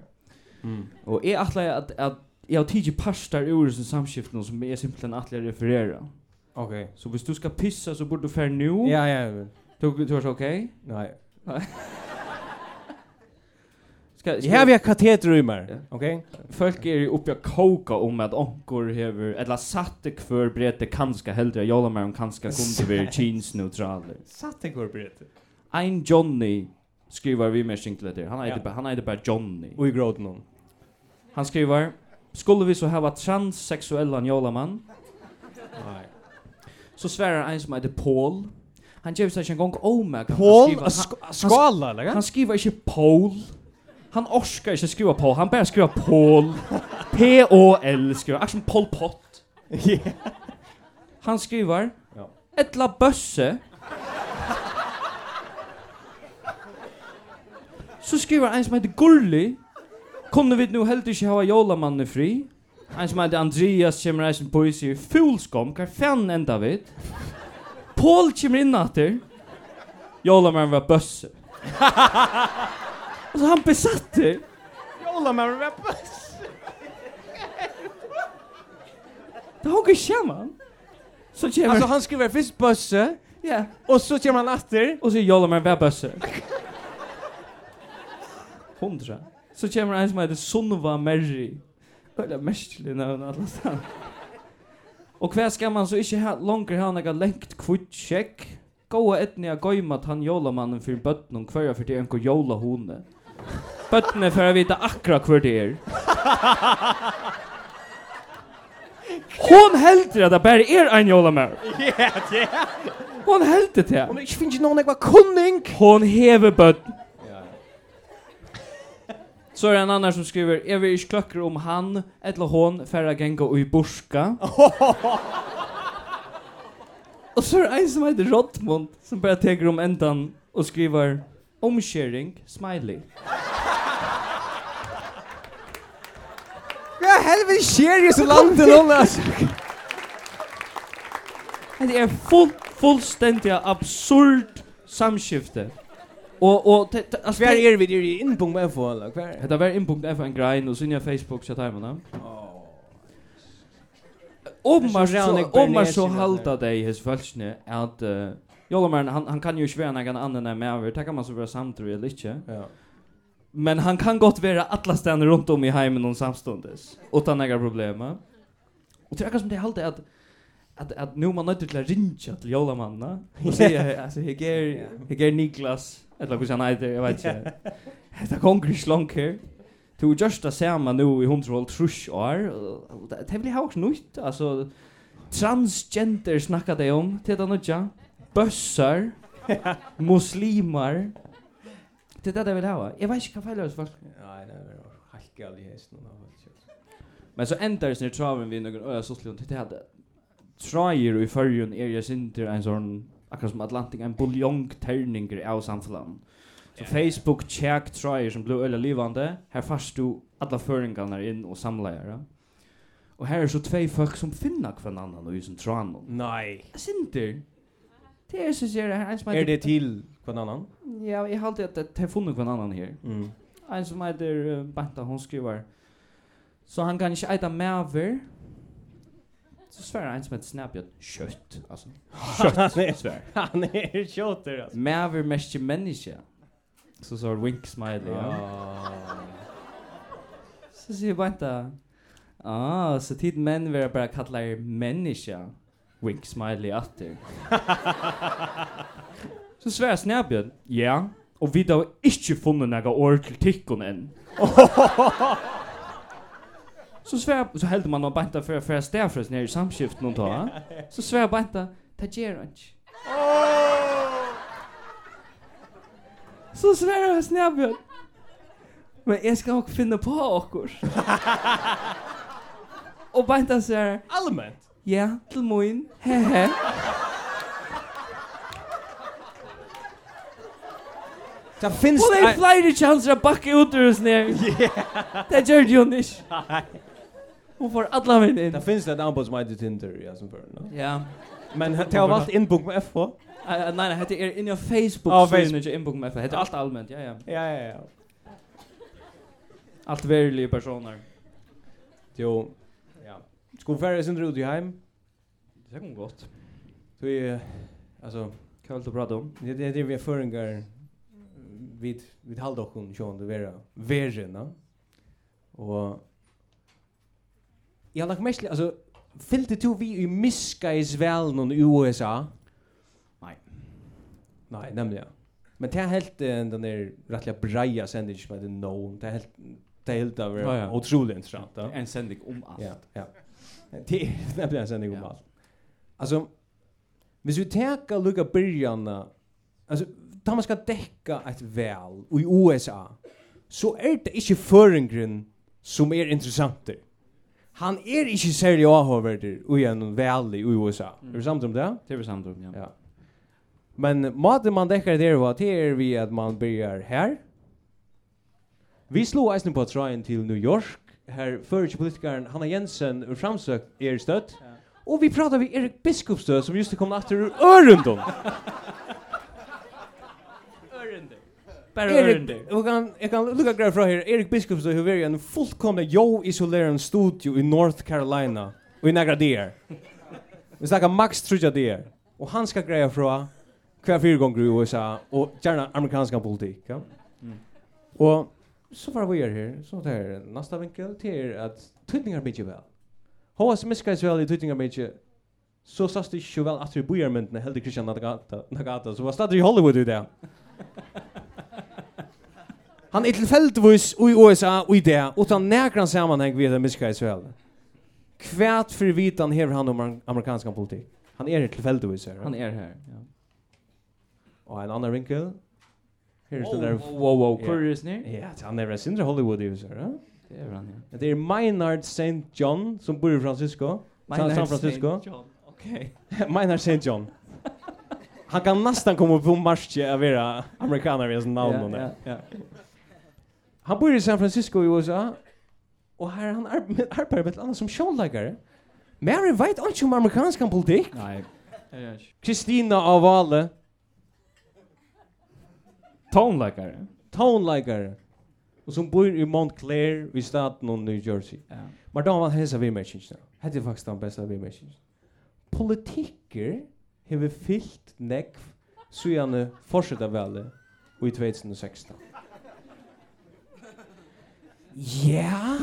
S2: Mm.
S3: Og jeg atler at, at jeg har tidlig parstar ur sin samskiftene som jeg simpelthen atler refererer.
S2: Okej.
S3: Så hvis du skal pissa så burde du fære nu.
S2: Ja, ja. men-
S3: Du, du er så okej.
S2: Nej.
S3: Ska,
S2: Jag har ju
S3: Ja.
S2: katetrymmer. Okej?
S3: Folk er jo oppe og koka om at onkur hever, eller satte hver brete kanska heldre, jola mer om kanska kunde vi kinsneutraler.
S2: Satt en korporate.
S3: Ein Johnny skriver vi med skinklet her. Han er
S2: Ja.
S3: det han er det bare Johnny.
S2: Och i gråten hon.
S3: Han skriver, skulle vi så hava transseksuella jolamann,
S2: Nej.
S3: så sverar ein som heter Paul. Han gjør seg ikke en gang omeg.
S2: Paul
S3: han, skriver-
S2: skala eller?
S3: han, han skriver ikke Paul. Han orskar ikke skriva Paul, han bare skriver Paul. P-O-L skriver, akkurat som Pol Pot.
S2: Ja.
S3: Han skriver
S2: Ja.
S3: Etla bøsse Så skriver en som heter Gurli Kunne vi nu heldig ikke hava jolamannen fri En som heter Andreas kommer eisen på i sier Fulskom, hva fan enda vid Paul kommer inn atter Jolamannen var bøsse Altså han besatte
S2: Jolla med rappers.
S3: Det har ikke skjermen Så kommer
S2: Alltså er han skriver först bösse
S3: ja.
S2: och så kommer han åter.
S3: Og så jollar man hver bøsse. Hundra. Så kommer en som heter Sunva Merri. Eller merkelig navn alle stan. Og hver skal man så ikke ha, langer ha noe lengt kvittsjekk, Gåa etni a goyma tann jólamannen fyrir bøtnum hverja fyrir enko jóla hone. Bøtnum fyrir að vita akra hver det er. Hon heldur at det bara er ein jólamær. Hon heldur det.
S2: Om ikke finnes noen jeg var kunning.
S3: Hon hever bøtten. Så er det en annan som skriver Jeg vil ikke kløkker om han Etla hon færre genga ui burska Og så er det en som heter Rottmund Som bare teker om endan Og skriver Omskjering, smiley
S2: Hva helvete skjer i så landet nå, altså?
S3: Det er full, fullstendig absurd samskifte Og, og te, te, altså,
S2: Hver
S3: te-
S2: er vi der i innpunkt med FO, eller? Hver er
S3: Hetta var inpunkt F en grein og sinja Facebook chat heima. Omar
S2: Det er så
S3: så
S2: rævnig
S3: Omar så
S2: bernesing,
S3: halda dei his falskne at uh, Jolomern han han kan jo ikkje vera nokon annan enn meg. Det kan man så vera samtur eller ikkje.
S2: Ja.
S3: Men han kan godt vera alla stannar rundt om i heimen om samstundes utan några problem. Och det är som det er halda att att att nu er man nöjd till att ringa till Jolamanna och säga alltså jag ger jag ger er- Niklas eller hur han heter jag vet inte. Det er kommer ju långt här. Du är just det samma nu i 100 trusch år. og Det er det blir också nytt alltså transgender snackar det om till det er nya. Bössar, muslimer. Det är det jag vill ha. Jag vet inte vad fel det är så folk.
S2: Nei, det er helt galt i hesten.
S3: Men så endar det sin traven vid någon öra så skulle det hade trajer i förrjun är jag synter en sån akkurat som Atlantic en buljongterninger av samfällan. Så Facebook check trajer som blev öliga livande. Här fast du alla föringarna in och samlar ja. er Och här är så två folk som finna kvann annan och i sin traven.
S2: Nei.
S3: Synter. Det är så ser det här en som
S2: Er det til hver annan?
S3: Ja, jag har alltid att det har funnit kvann er annan här.
S2: Mm.
S3: En som heter uh, Banta, hon skriver Så han kan ikke eita maver Så svarer en som heter Snapchat Kjøtt, altså
S2: Kjøtt, svær. Han er kjøtter, altså.
S3: Maver mest ikke menneske Så svarer wink smiley ja. Så sier Banta Ah, så tid menn vil jeg bare kalla er menneske Wink smiley atter Så svarer Snapchat Ja, og vi har ikke funnet noen år til tikkun enn Så svär så hällde man och banta för för stäfres ner i samskift någon dag. Så svär banta ta gerunch. Så svär jag snabbare. Men jag ska också finna på åkor. Och banta så här,
S2: Allment.
S3: ja, till moin. Hehe.
S2: Det finnes...
S3: Och det är flera chanser att backa ut ur oss ner. Det gör ju inte. Hon får alla vägen in.
S2: Det finnes et anbud som heter Tinder, ja, som før. no?
S3: Ja.
S2: Men det har valgt innpunkt med FH.
S3: Eh, eh, Nei, nei, hette er inni av Facebook
S2: Ja,
S3: oh, Facebook
S2: Facebook.
S3: Ikke innbok med Hette alt allment, ja, ja
S2: Ja, ja, ja.
S3: Alt verilige personer
S2: Jo. Ja. Skulle færre sin rute i heim.
S3: Det kom godt
S2: Så vi... Altså,
S3: Hva vil du prate om?
S2: det det er det vi er føringar vid vid haldokken sjón det vera verena. Og Jeg har lagt mest, altså, fyllte du vi i miskais velen i USA?
S3: Nei.
S2: Nei, nemlig, ja. Men det er helt eh, den der rettelig breia sending som heter Known, det er helt, det er helt av
S3: Ja, ja.
S2: utrolig interessant, da.
S3: En sending om alt
S2: Ja, ja. Det är nämligen en sändning om
S3: Ja.
S2: allt. Alltså, hvis vi tänker lukka byrjarna, alltså, da man ska däcka ett väl i USA, så är det inte föringren som är intressant. Han er är inte särlig avhörverdig i en väl i USA.
S3: Mm.
S2: Är du samt om det?
S3: Det er vi samt om, ja
S2: Ja. Men maten man däckar det var, det är vi att man börjar här. Vi slog eisen på tryen til New York. Her förrige politikaren Hanna Jensen ur framsökt er stött.
S3: Ja.
S2: Och vi pratar vid Erik Biskopstö som just er kom efter ur Örendon.
S3: Ørender Bare
S2: Erik,
S3: ørender
S2: jag kan, jag kan lukka grejer från här. Erik Biskopstö har varit en fullkomlig jo-isolerad studio i North Carolina. Och i några dagar. Vi snackar max trudja dagar. Och han ska greja från hver fyra gånger i USA och gärna amerikanska politik. Ja?
S3: Mm.
S2: Och så var vi er her, så det er nästa vinkel, det er at tydningar mykje vel. Hoa som miskais vel i tydningar mykje så sast det ikke så vel at du bor myndene heldig Christian Nagata, Nagata så var stadig i Hollywood i det. Han er tilfeldigvis i USA i det, utan nekran sammanheng vi det miska i Sverige. Kvært for vitan hever han om amer- amerikansk politik. Han er tilfeldigvis her.
S3: Han er her. Ja.
S2: Og en annan vinkel. Her er det der...
S3: er- Wow, wow, wow.
S2: Ja.
S3: Hvor er det nær?
S2: Ja, han er en sindre Hollywood i USA, ja?
S3: Det er han, ja.
S2: Det er Maynard St. John som bor i Francisco. San- San Francisco.
S3: Okay.
S2: Maynard St. John. Han kan nästan komma på marsje av era amerikaner i sin namn.
S3: Ja, ja.
S2: Han bor i San Francisco i USA. Och här han ar- arbetar med ett annat som showläggare. Mary vet inte om amerikansk politik.
S3: Nei. Er det ikke?
S2: Kristina av Vale,
S3: Tonelagare.
S2: tonläggare. Och som bor i Montclair i staten av New Jersey.
S3: Ja.
S2: Men då var hälsa vi med kyrkna. Hette är er faktiskt den bästa vi med kyrkna. Politiker har vi fyllt nekv så gärna fortsätta välja i 2016. Ja.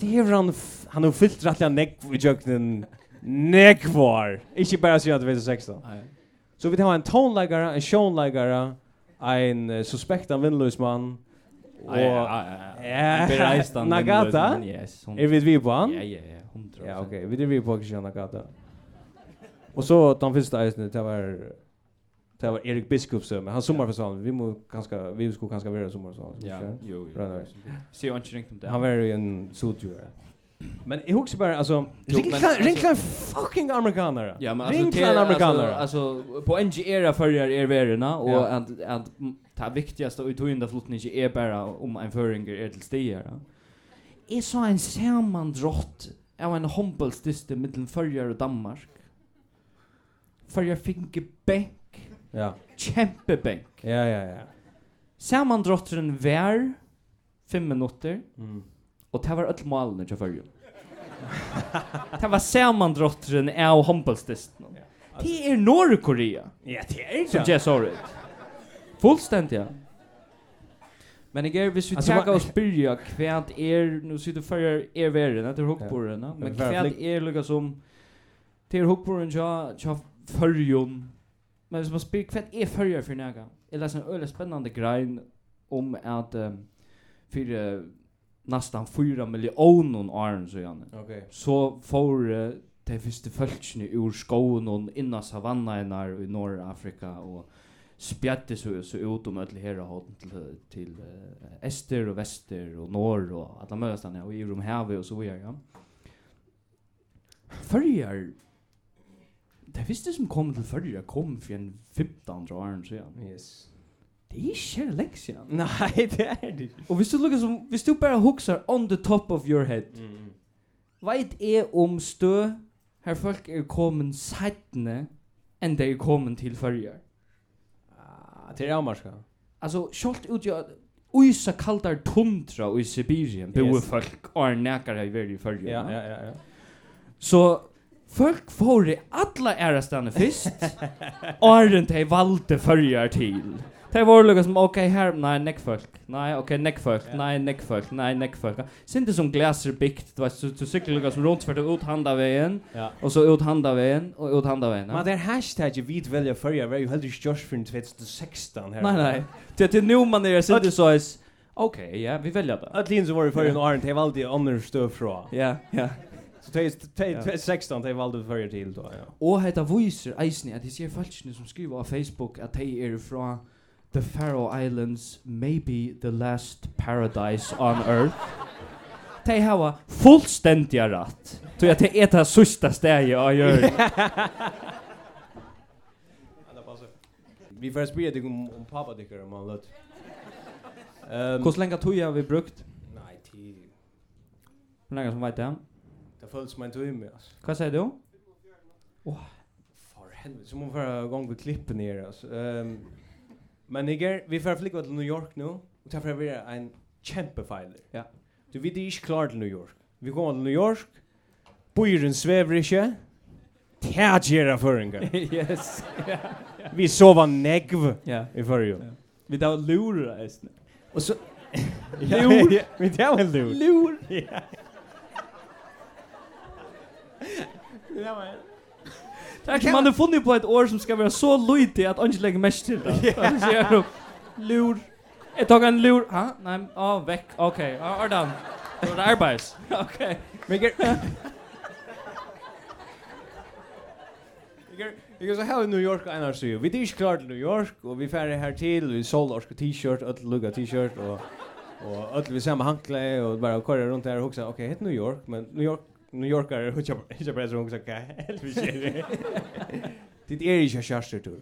S2: Det har han f- han har fyllt rättliga nekv i jöknen nekvar. Inte bara så 2016.
S3: Nei.
S2: Så vi har en tonläggare, en showläggare, en eh, suspekt av vindlös man.
S3: Ja,
S2: och-
S3: ja, ja, ja.
S2: Ja.
S3: Bereist han den
S2: Nagata?
S3: løsningen, Yes. hun-
S2: Er vi vi på han?
S3: Ja, ja, ja. Hundra.
S2: Ja, okej. Vi driver på Christiana Gata. Och så den första isen det var det var Erik Biskup som han sommarfestivalen. Vi må ganska vi skulle ganska vara sommarfestivalen.
S3: Ja,
S2: okej?
S3: jo,
S2: Bra,
S3: jo.
S2: bra.
S3: Se jo ikke ringt om det.
S2: Han var ju en sotjur. Men jag huxar bara alltså
S3: Jo, men
S2: Rinklan
S3: alltså-
S2: Rinklan fucking amerikanare.
S3: Ja, men alltså
S2: Rinklan amerikanare.
S3: Alltså, på NG era förjar er verna och
S2: Ja.
S3: att att ta viktigaste och tog in där flotten inte är E bara om en föringer är till stiga. Ja. Är så en sammandrott av en hompelstiste mellan förjar och Danmark. Förjar finke bänk,
S2: Ja.
S3: kämpebänk.
S2: Ja, ja, ja.
S3: Sammandrottren vär fem minutter
S2: Mm.
S3: och det var öll malen till förjar. det var sammandrottren av hompelstisten. Det är Norrkorea.
S2: Ja, det är
S3: Som
S2: inte.
S3: Jess Orrit. Fullständigt, ja. Men jag är, hvis vi
S2: Alltså,
S3: tackar
S2: vad-
S3: och spyrja kvärt er, nu sitter förra er värre, det är hukkborren, ja. men
S2: Men varför
S3: kvärt er lika som, det är hukkborren tja, tja förrjum. Men hvis man spyr kvärt er förrjär för näga. Jag läser en öle spännande grein om att um, för uh, nästan 4 miljoner år sedan
S2: Okej.
S3: så får uh, de første følgene ur skoen og innan savannaenar i Norr-Afrika og spjatte så, så ut om alle her hånden um til, til eh, Ester og Vester og Norr og alle møtene og i Romhavet og så videre. Ja. Førjar, det første som kom til førjar kom for en 15 år siden.
S2: Yes.
S3: Det er ikke lenge siden.
S2: Nej, det är det.
S3: Og hvis du, lukkar som, hvis du bare huxar on the top of your head,
S2: Mm.
S3: Veit er om stø her folk er kommet sættene enn de er kommet til førjer.
S2: Ah, det är amarska.
S3: Altså, sjålt utgjør Uysa kaldar tundra i Sibirien boer
S2: Yes.
S3: folk og er nekare i verden i førjer.
S2: Ja, ja, ja, ja.
S3: Så folk får i alla ærastane fyrst åren de valde førjer til. Det var lukka som, ok, her, nei, nekk folk, nei, ok, nekk folk, nei, nekk folk, nei, nekk folk. Sinte som glaser bikt, du vet, så du sykler lukka som rådsfært ut handa veien,
S2: Ja.
S3: Och så ut handa vägen och ut handa vägen.
S2: Men det er här hashtagget vit välja förra var ju helt inte Josh för 2016 här.
S3: Nej nej. Det är nu man är så det så är Okej, ja, vi väljer det.
S2: Att Lindsey var ju förra en Arnt har alltid andra stöd från.
S3: Ja, ja.
S2: Så 2016 har valde förra till då. Ja.
S3: Och hetta voicer eisen att det ser falskne som skriver på Facebook att de är från The Faroe Islands, maybe the last paradise on earth. De har fullständiga rätt. Tror jag det är det sista steget jag gör.
S2: Vi får spela dig om, om pappa tycker om han låt. Ehm
S3: Hur länge tog jag vi brukt?
S2: nej till
S3: Hur länge som vet det?
S2: det följs man inte med alltså.
S3: Vad säger du?
S2: För helvete så måste vara gång vi klipper ner alltså. Ehm men Niger, vi får flyga till New York nu och ta för vi är en kämpefiler.
S3: Ja.
S2: Du vet det är inte klart till New York. Vi kommer till New York. Bojren svävar inte. Tjärgera förringar.
S3: yes.
S2: Vi sover negv
S3: Ja.
S2: i förrjun.
S3: Vi tar lura eisen.
S2: Och så...
S3: Lur.
S2: Men det var lur.
S3: Lur. Tack man har funnit på ett år som ska vara så lojt att Angela lägger mest till det. Så jag då lur. Jag tar en lur. Ha? Nej, ja, väck. Okej, okay. ja, är er done. Då är det arbets. Okej.
S2: Men
S3: er-
S2: Jag Jag så här i New York en så vi det är klart New York och vi färre här till vi sålde orska t-shirt att lugga t-shirt och och att vi samma handkläder och bara köra runt där och också okej okay, New York men New York New Yorkar är hur jag bara så också okej helvete. Det är ju schysst tur.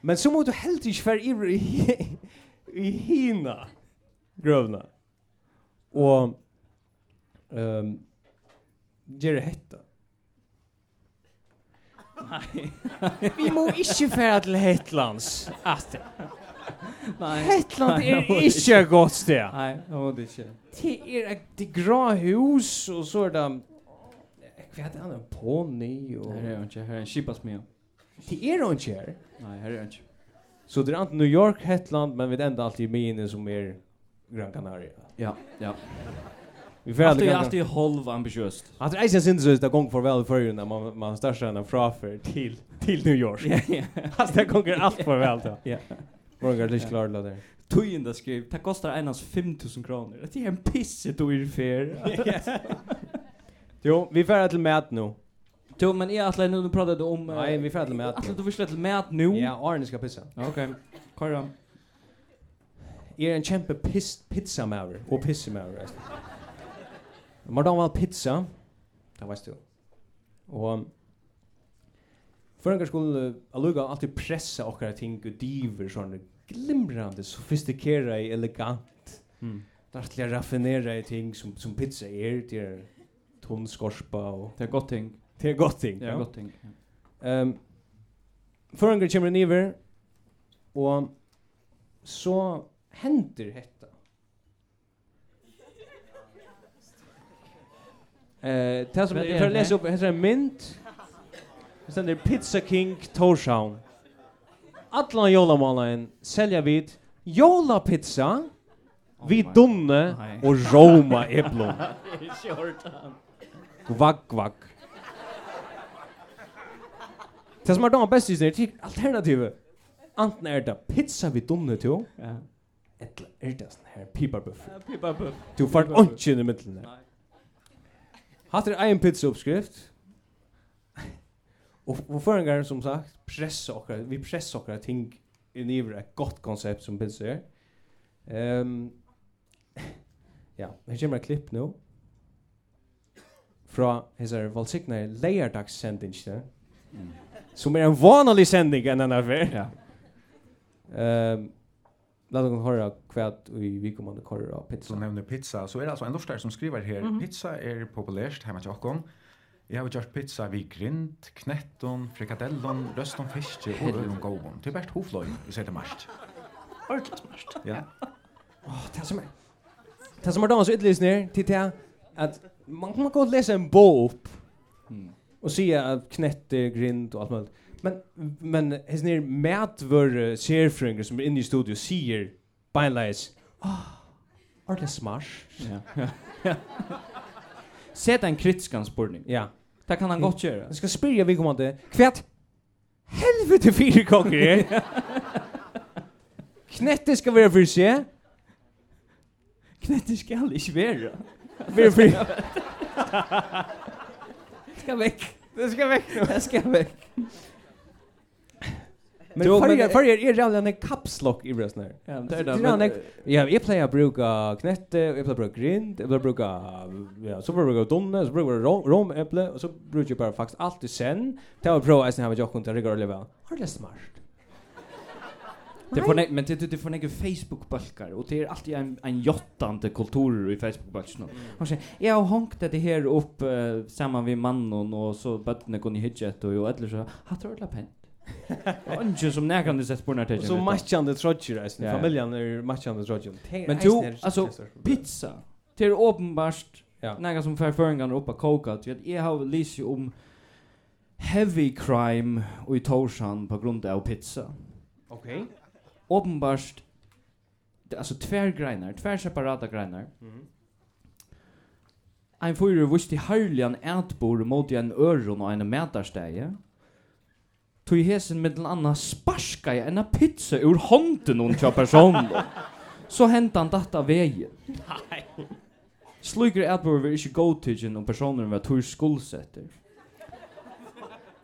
S2: Men så måste du helt inte för i i Hina grövna. Och ehm ger det hetta.
S3: Nej.
S2: Vi må ikke færa til Hetlands. At
S3: Nej.
S2: Hetland
S3: Nei,
S2: er
S3: det må vi
S2: ikke et godt sted.
S3: Nej, det var det inte.
S2: Det er et det grå hus, og så er det... Hva heter han? En pony? Og...
S3: Här är inte. Här är en chipas med.
S2: Det er jo ikke her.
S3: Nej, här är inte.
S2: Så det er enten New York, Hetland, men vi er enda alltid i mine som er Gran Canaria.
S3: Ja, ja.
S2: Vi færa til
S3: Alltid
S2: Gran Canaria.
S3: alltid halv ambitiöst.
S2: At det er eisen sindsøst at gong for vel i førjen, når man, man starter henne frafer til, til New York.
S3: Ja, ja.
S2: Altså, det gonger er alt for vel da.
S3: Ja.
S2: Morgan er ikke klar til det.
S3: Tujinda skrev, det kostar enans 5000 kronor. Det är en er pisse då är fair.
S2: Jo, vi færa till Matt nu.
S3: Jo, men jag Atle, nu pratade du om... eh,
S2: Nej, vi færa til Matt
S3: Atle,
S2: nu.
S3: du vill släppa till mät nu?
S2: Ja, Arne ska pissa.
S3: Okej, Kajra.
S2: Jeg er en kjempe piss, pizzamaver og pissemaver. Man da var pizza, det veist du. Og um, Føringar skulle uh, alluga alltid pressa okkara ting og diver sånne glimrande, sofistikera i elegant. er
S3: Mm.
S2: Dartliga raffinera i ting som, som pizza er, det er tunn skorpa og
S3: Det är gott ting.
S2: det er godt ting.
S3: Det är gott ting.
S2: Ehm Føringar kemur niver og så hendir hetta. Eh, tað sum
S3: Hvat er
S2: eg fer
S3: det?
S2: lesa upp, hetta er ein mynd. Det stendur Pizza King Tórshavn. Allan jólamánaðin selja vit jólapizza við
S3: Oh my
S2: dunne
S3: Nei.
S2: og róma eplum. Kvakk, kvakk. Det som er da best i stedet, det er alternativet. Anten er det pizza vi dunne til,
S3: Ja.
S2: eller er det sånn her piparbuff.
S3: Pippa puff.
S2: Du får ikke inn i middelen her.
S3: Nei.
S2: Hatt er egen pizzaoppskrift. Og og for en gang, som sagt, pressa okkar, vi pressa okkar ting i niver et godt er konsept som pizza er. Ehm ja, her kommer et klipp nå. Fra hessar valsikna leiardagssendingene. Som er en vanlig sending enn enn affær.
S3: Ja.
S2: Ehm Lad oss høre hva vi vi kommer til å kåre av pizza.
S1: som nämner pizza så är det alltså en norskare som skriver här pizza er är populärt hemma i Stockholm. Jag har gjort pizza vid grind, knetton, frikadellon, röston fisk och öron gåvon. Det är bäst hoflöj, vi säger det mest. Ordentligt mest. Ja.
S2: det som er Det som er dagens ytterligere til det at man kan godt lese en bok opp og si at knette, grind og alt mulig. Men, men er hans nere medvøre serfrøynger som er inne i studio sier beinleis Åh, er det smart?
S3: Ja. Sätt en er kritiskans spurning.
S2: Ja.
S3: Det kan han gott göra.
S2: Jeg skal spyrja vi kommer til Kvært helvete fire kokker her Knette er?" skal være for seg
S3: Knätter ska aldrig svära.
S2: Være for
S3: Ska väck. Det ska väck. Det ska väck.
S2: Men
S3: Jo, men-
S2: farger, farger er rævlig en kapslock i brøsten her
S3: Ja, er det är
S2: Det är en- Ja, jag plejer att bruka knätte, jag plejer att bruka grind, jag plejer att bruka, ja, så plejer jag att bruka donne, så plejer jag rom, romäpple, och så brukar jag bara faktiskt alltid sen. Det har jag provat att jag har jobbat till Rickard Oliver. Har det er smart?
S3: Det får nej men det det får nej Facebook balkar och det är alltid en en jottande kultur i Facebook balkarna. Man säger jag har honkt det här upp uh, samman vid mannen och så bättre kunde hitcha ett och eller så har trollat pent. Och inte som när kan du sätta på den här
S2: Och så
S3: tiden.
S2: matchande trotcher, alltså,
S3: Ja, ja.
S2: familjen är matchande trotcher. Det är
S3: Men
S2: eisen
S3: jo,
S2: er
S3: altså,
S2: det største problemet.
S3: pizza. er Det är uppenbart
S2: Ja.
S3: några som för förringar upp och koka att jag har läst ju om um heavy crime och i Torsan på grund av pizza.
S2: Okej.
S3: Uppenbart alltså tvär greiner, tvär separata greiner. Ein fyrir vist i harlian ætbor mot en øron og en metarsteg. Tog hesen med den anna sparska i en pizza ur hånden hon kjøper personen. Så hentan han datta veien. Sluger ætbor var ikke godtidgen om personen var tur skuldsetter.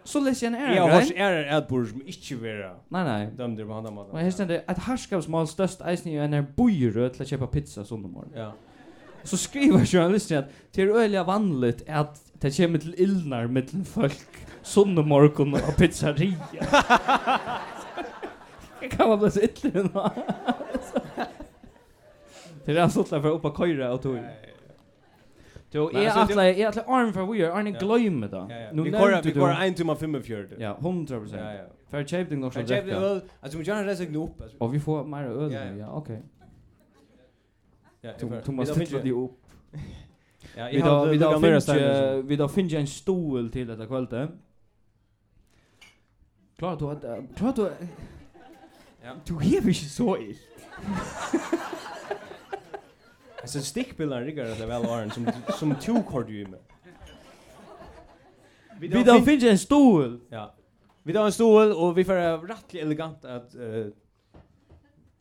S3: Så leser jeg en
S2: Ja,
S3: ære,
S2: hos er er et bord som ikke vera
S3: Nei, nei.
S2: dømd på handa mann.
S3: Og her stender at harskapsmål størst eisen i en er bojrød til å kjøpe pizza sånn om morgenen.
S2: Ja.
S3: Så skriver journalisten at det er øyelig vanligt at det kommer til illnar mellom folk sunne morgon og pizzeria. Det kan man bli så ytterligere nå. Det er altså for å oppe og køyre og tog. Jo,
S2: Men
S3: jeg
S2: altså, det-
S3: atler, jeg atler arm for vi er, Arne
S2: Ja.
S3: gløyme da.
S2: Ja, ja.
S3: Nu
S2: Vi går
S3: nevnte
S2: vi
S3: du-
S2: går 1 timme 45.
S3: Ja, 100
S2: Ja, ja.
S3: For jeg kjøpte nok
S2: Så
S3: som
S2: jag vill
S3: drekka.
S2: öl. Alltså vi gör en resign upp. alltså.
S3: Og vi får mer øl
S2: Ja, ja.
S3: nu, ja, ok.
S2: Ja,
S3: Du-
S2: jag-
S3: Du må
S2: jag-
S3: stilla det opp.
S2: Ja,
S3: Vi
S2: jag
S3: då
S2: har
S3: vi då
S2: finnje.
S3: finge vi då finge en stol till detta kvällte. Klart du hade klart du
S2: Ja.
S3: Du hever ikke så ill.
S2: eh, Alltså stickbilden riggar det väl Arn som som två kort ju med.
S3: Vi då finge en stol.
S2: Ja. Vi tar en stol och vi får rättligt elegant att eh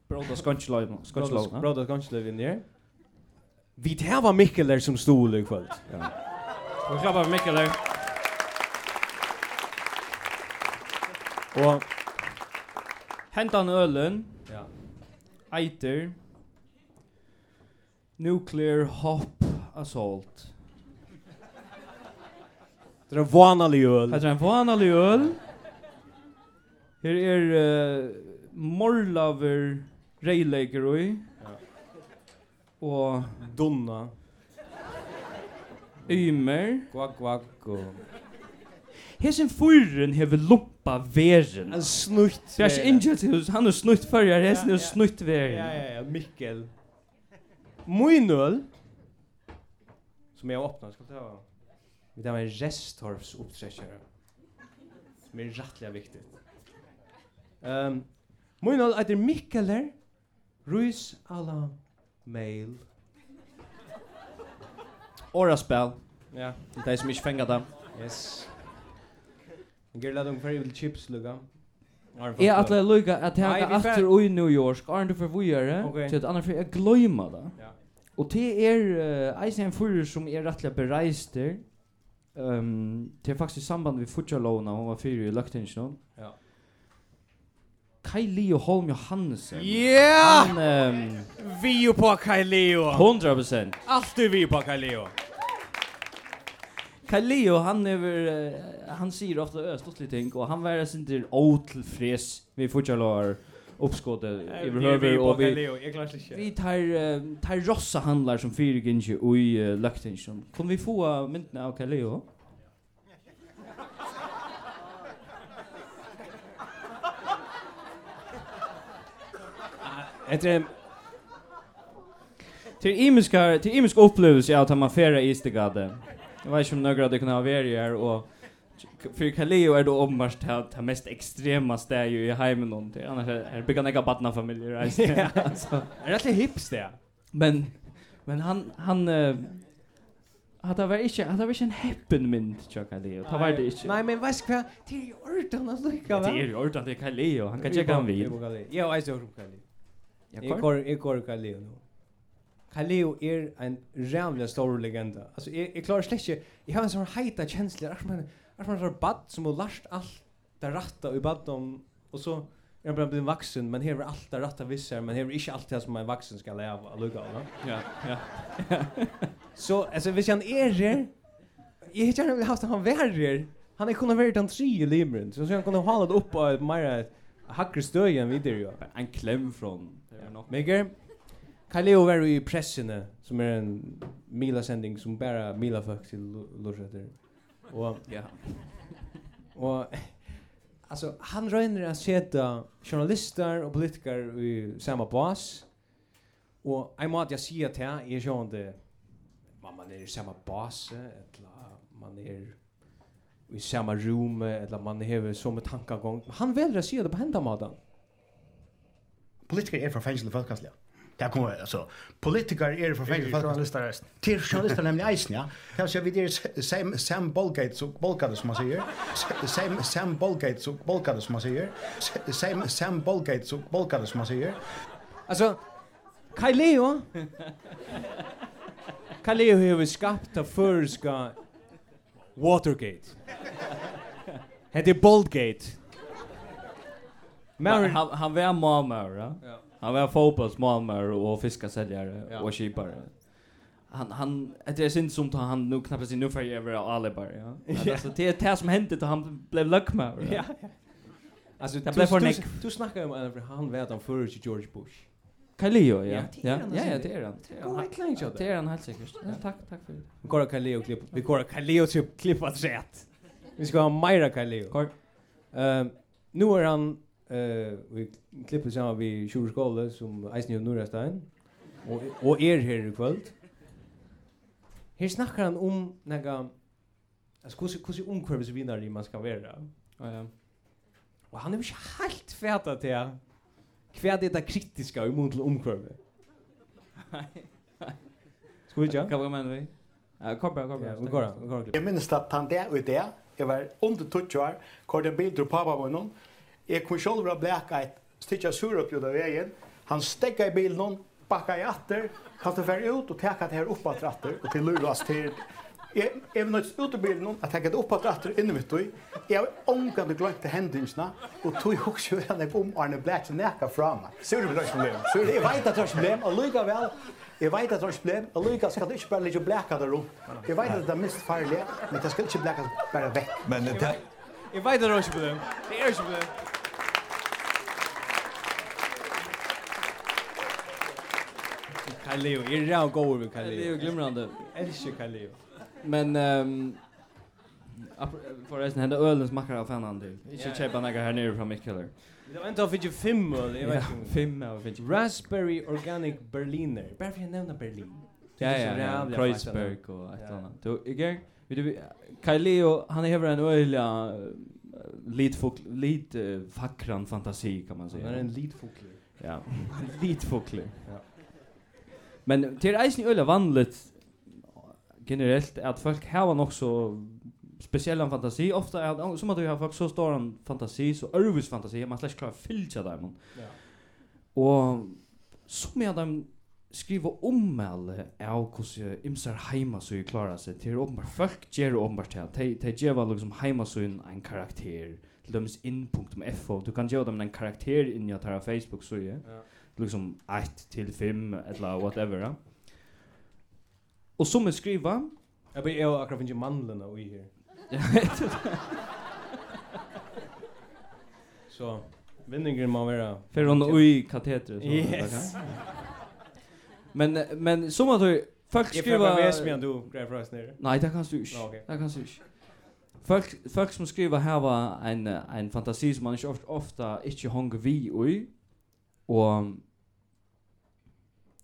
S3: Bråta skonsløyna. Skonsløyna.
S2: Brothers kanske lever in there. Vi tar var Mikkeler som stol i kväll.
S3: Ja.
S2: Vi klappar för Mikkeler. Och
S3: Hentan ølen,
S2: ja.
S3: eiter. Nuclear hop assault.
S2: Det är en vanlig öl.
S3: Hetta er ein vanlig øl. Her er uh, morlaver reilegerøy. Og
S2: Donna.
S3: Ymer.
S2: Kvak kvak och
S3: Hesin fyrren hever lumpa veren.
S2: en snutt.
S3: Det er ikke innkjølt, han er snutt førjar, hesin er snutt
S2: eh, Ja,
S3: veren.
S2: ja, ja, Mikkel. Min öl som jag öppnar ska ta. Vi tar en Restorfs uppträckare. Som är rättliga viktigt. Ehm min öl heter Mikkeler Ruiz alla mail.
S3: Oraspel.
S2: Ja,
S3: Det er som ikke fengar det.
S2: yes. Ger ladung för evil chips lugga.
S3: Jeg er atle lukka at jeg
S2: Nei,
S3: har
S2: vi fer-
S3: atter ui New York, Arne du for vujere,
S2: Ok.
S3: til at annar fyrir jeg gløyma det.
S2: Ja.
S3: Og det er uh, eisen en fyrir som er rettelig bereister. Um, det er faktisk i samband med futjalovna, hun var fyrir i løgtingsjon.
S2: Ja.
S3: Kai Leo Holm Johansen.
S2: Ja!
S3: Han, um,
S2: Vi på Kaileo.
S3: 100%.
S2: Alltid vi på Kaileo.
S3: Kaleo, han över eh, han säger ofta östligt ting och han var sin till otelfres vi fortsätter uppskottet
S2: er
S3: över höver och vi
S2: Jag klarar inte.
S3: vi tar eh, tar rossa handlar som fyra ginge och i uh, Lactation. Kan vi få eh, mynden av Kaleo?
S2: Ett eh,
S3: Till imiska till imiska upplevelse er att man färra i Istegade. Jag vet inte om några det kunde ha varit här och för Kaleo är då omvärst det det mest extrema stället i hemmen någonting. Annars er, är det bygga badnafamiljer. Ja, alltså.
S2: rätt hips det.
S3: Men men han han uh, hade var inte hade var inte en happen mynd tjocka det. Det var det inte.
S2: Nej, men vad ska Det är ju ordan att lycka
S3: det är ju er ordan det kan Leo. Han kan checka han
S2: er
S3: vid.
S2: Ja, jag står upp Kaleo. Jag
S3: Jag
S2: går jag går Kaleo nu. Kaleo är en jävla stor legenda. Alltså jag jag klarar släcke. Jag har en sån heta känsla att man att man har bad som har lärt allt det rätta i bad om och så är man er bara blivit vuxen men här är allt det rätta vissa men här är inte allt det som en vuxen ska leva och lycka va.
S3: ja ja.
S2: Så alltså vi känner er här. Jag hittar nämligen haft han värre. Han är kunnat vara den tre i Limren. Så han kunde hålla det upp på ett mer hackre stöj än vidare ju.
S3: En klem från
S2: Mikael, Kaleo var i pressen som är en Mila-sändning som bara Mila folk till Lorsäter. Och,
S3: Ja.
S2: och alltså han röjner att sätta journalister och politiker i samma bas. Och jag måste jag säga till här är ju inte man man är i samma bas eller man är i samma rum eller man har som tankegång. Han väljer att säga det på hända maten.
S6: Politiker er fra fengsel og folkekastliga. Det kommer alltså politiker är det förfärligt
S7: Til journalister resten.
S6: Till journalister nämligen eisen, ja. Det vill säga vi är Sam Sam Bolgate så Bolgate som man säger. Sam Sam Bolgate så Bolgate som man säger. Sam Sam Bolgate så Bolgate som man säger.
S2: Alltså Kai Leo Kai Leo hevur skapt ta førska Watergate. Hetta er Boldgate.
S3: Men
S2: Men
S3: han, han var malmör, ja?
S2: Ja.
S3: Han var fotbollsmalmör och fiskasäljare
S2: Ja.
S3: och kippare. Han, han, det är er synd som tar han nu knappt sin nu för jag var alibar, ja? Men
S2: Ja.
S3: Alltså, det är det som hände då han blev lökmör,
S2: ja.
S3: ja?
S2: Alltså
S3: Det blev for
S2: du,
S3: nekk.
S2: du snakkar om en han vet han förr George Bush.
S3: Kaleo, ja?
S2: Ja, det er han,
S3: ja,
S2: altså.
S3: ja, det är han. Det er
S2: God
S3: han.
S2: eklang
S3: Ja,
S2: shot.
S3: Det är han helt säkert. Ja, tack, tack för det.
S2: Vi går Kai Leo klipp. Vi går Kai Leo klipp klippa rätt. Vi ska ha Myra Kai Leo.
S3: Kort.
S2: Ehm nu är han eh vi klipper samman vi Sjur Skåle som Eisny och Norrstein och och er här ikväll. Här snackar han om några alltså hur hur omkurvsvinnare man ska vara.
S3: Ah, Ja, ja.
S2: Och han är ju helt färdad till kvad det där kritiska emot till omkurve. Ska vi
S3: Kan
S2: ja?
S3: vi med vi? Ja, kort bara, kort bara.
S2: Ja, vi går han, vi går han.
S7: Kort.
S6: Jag minns att han där och där, jag var under 20 år, körde en bil till pappa på någon. Jag kom själv att bläka ett stycke sur upp av vägen. Han stäckade i bilen, någon, backade i atter, kastade färg ut och täckade det här uppåt ratter och till luras till Jag jag var nöjt ut ur bilen någon, att täckade uppåt ratter inne mitt i. Jag har omgående glömt till händelserna och tog ihåg så hur han er om Arne Black som näka fram. Så är det ett problem. Så är det- jag vet att det er är ett problem, och lika väl. Jag vet att det er är ett problem, och lika ska det inte bara ligga och bläka där runt. Jag vet att det är mest farligt, men det ska inte bläka bara väck.
S8: Men det
S2: Jag vet att det är inte problem. Det är inte problem. Kaleo, er jag är redan god över
S3: Det är ju
S2: Kaleo.
S3: glimrande.
S2: Jag älskar Kaleo.
S3: Men ehm Forresten, henne ölen smakar av fan du. Ikke kjøpa noe her nere fra Mikkeller.
S2: Det var inte av fick ju fem öl, jag vet inte.
S3: fem av finnes
S2: Raspberry Organic Berliner. Bara för att jag nämner Berlin.
S3: Ja,
S2: er
S3: ja, ja. Kreuzberg og et eller annet. Du, Iger, vil du, Kai Leo, han er hever en eh, øyla lit folk lit eh, fackran fantasi kan man
S2: Det är
S3: säga.
S2: er en lidfokler.
S3: Ja. Lit folklig.
S2: Ja.
S3: Men till eisen øyla vanligt generellt att folk har en också speciell fantasi ofta er- är som att du har folk så stor en fantasi så örvis fantasi man slash klara fylja där man.
S2: Ja.
S3: Og så med dem skriva ommelde av hvordan ymsar heimasøy klarar seg til åpenbart folk gjør åpenbart til at de gjør liksom heimasøyen en karakter til dømes inn.fo du kan gjøre dem en karakter inn i at her er Facebook så ja.
S2: Ja.
S3: liksom 1 til 5 eller whatever ja. og så med skriva
S2: Jag blir jag akkurat finns ju mandlarna och i här. Så, vinningen må vara...
S3: För hon oj kateter så.
S2: Yes.
S3: Men men som att du folk
S2: Jag får bara
S3: skriva
S2: väs medan du grejer för oss nere.
S3: Nej, det kan du ikke.
S2: Ja, ok.
S3: Det kan du ikke. Folk, folk som skriver her var en, eh, en fantasi som man ikke ofte, ofte ikke hong vi i, og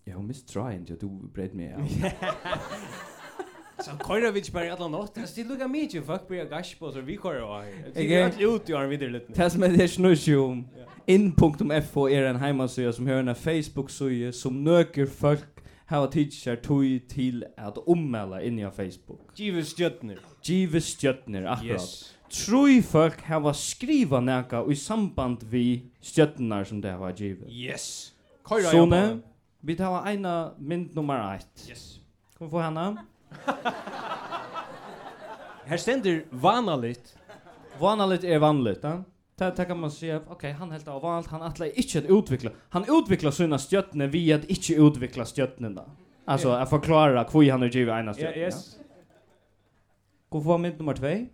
S3: jeg har mist tryen til at du bredd meg av.
S2: Så kører vi ikke bare i alle natt. Det er lukket mye, fuck, blir jeg gass på, så vi kører av her. Det
S3: Ikke?
S2: er alt ut i arm videre litt.
S3: Det som er det snusje om in.fo er en heimasøye som har en Facebook-søye som nøker folk hava tidsar tog til at ommelde inn i Facebook.
S2: Givet stjøttner.
S3: Give stjøtner, akkurat.
S2: Yes.
S3: Troi folk hava skriva neka i samband vi stjøtnar som det hava givet.
S2: Yes. Kører jeg på
S3: Sone,
S2: den.
S3: vi tar ena mynd nummer ett.
S2: Yes.
S3: Kom få henne.
S2: Her stender vanalitt.
S3: Vanligt är er vanligt, ja. Ta ta kan man säga, okej, han helt av vanligt, han attlar inte att utveckla. Han utvecklar sina stjärtne via att inte utveckla stjärtnorna. Alltså
S2: Ja.
S3: att förklara hur han har givit
S2: Ja,
S3: ena stjärtne.
S2: yes.
S3: Kom få mynd nummer två.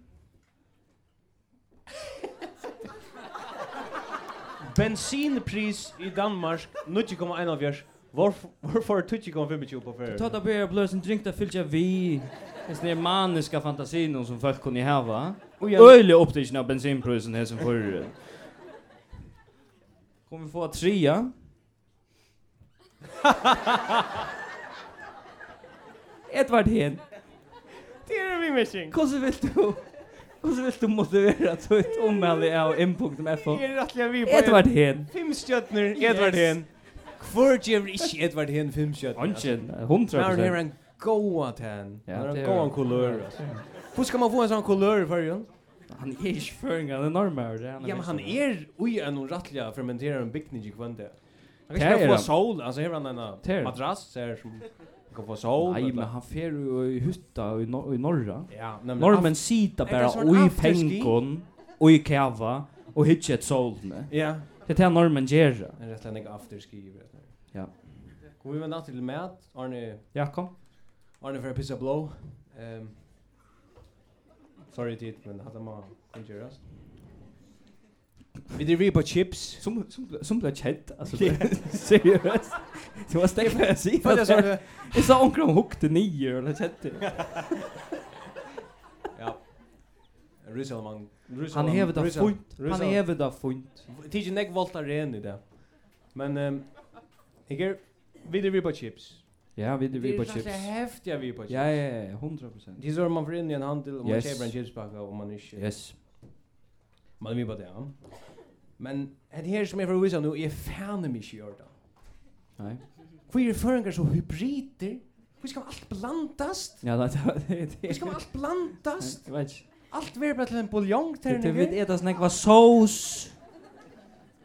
S2: Bensinpris i Danmark, 0,1 Hvorfor hvorfor er 2,25 på ferie?
S3: Ta ta börja blösa en drink där fyllja vi. Det är er maniska fantasin som folk kunde ha.
S2: Og jeg-
S3: Öjlig upptäckten av bensinprisen här som förr. Kommer vi få trea? Edvard Hen,
S2: Det er vi missing.
S3: hur så vill du? Hur så vill du motivera så ett omhälle av
S2: Det
S3: m.fo?
S2: er rettelig vi på
S3: Edvard Hen,
S2: Fem stjøttner,
S3: Yes.
S2: Edvard Hen. Hvor gjør ikke Edvard Hinn filmkjøtt?
S3: Ongen,
S2: Men han
S3: 100%.
S2: har en goa tan.
S3: Ja,
S2: Han har en
S3: det er-
S2: goa kulør. Hvor skal man få en sånn kulør i fargen?
S3: Han er ikke føring, han er normar. det er
S2: Ja, men han
S3: mest-
S2: er ui en fermenterar fermenterar en bikning i kvante. Han
S3: Det
S2: kan
S3: er
S2: ikke få
S3: han.
S2: sol, altså her er han
S3: Det er
S2: en
S3: han.
S2: madrass så her som han kan få sol.
S3: Nei, men
S2: eller-
S3: han fer jo i hytta og i, nor i norra.
S2: Ja, nemlig.
S3: Normen
S2: aft-
S3: sita
S2: Er det
S3: bara
S2: sånn
S3: ui
S2: afterski?
S3: pengon, ui kava, og hitje et solne.
S2: Ja,
S3: Det er det normen gjerra.
S2: en rett enn afterski. vet du.
S3: Ja.
S2: Kom vi med natt til mat, Arne,
S3: Ja, kom.
S2: Arne for a pizza blow. Ehm Sorry tid, men hatta ma kan gjerast. Vi driver på chips.
S3: Som, som, som ble kjent, altså. Seriøst. Det var stekk for jeg si.
S2: Føler jeg er sånn- eh,
S3: Jeg sa onker om hukte nye, eller kjent det.
S2: Ja. Rusalman.
S3: Han hever da funt. Han hever da funt.
S2: Tidsi nek volta ren i det. Men um, jeg er videre vi på chips.
S3: Ja, vi vi på
S2: Det er
S3: chips.
S2: så heftig vi på chips.
S3: Ja, ja, ja, 100%.
S2: Det er så man får inn i en handel, og man
S3: Yes.
S2: kjøper en chipspakka, og man ikke...
S3: Yes.
S2: Man er vi på det, ja. Men det her som jeg får vise nå, er fanen mye i orda.
S3: Nei.
S2: Hvor er føringer så hybrider? Hvor skal alt blandast?
S3: Ja, nei, det var det.
S2: Hvor skal alt blandast?
S3: Jeg vet ikke.
S2: Alt verður bara til en buljong er
S3: Det det vet
S2: terninger.
S3: etas nek var sós.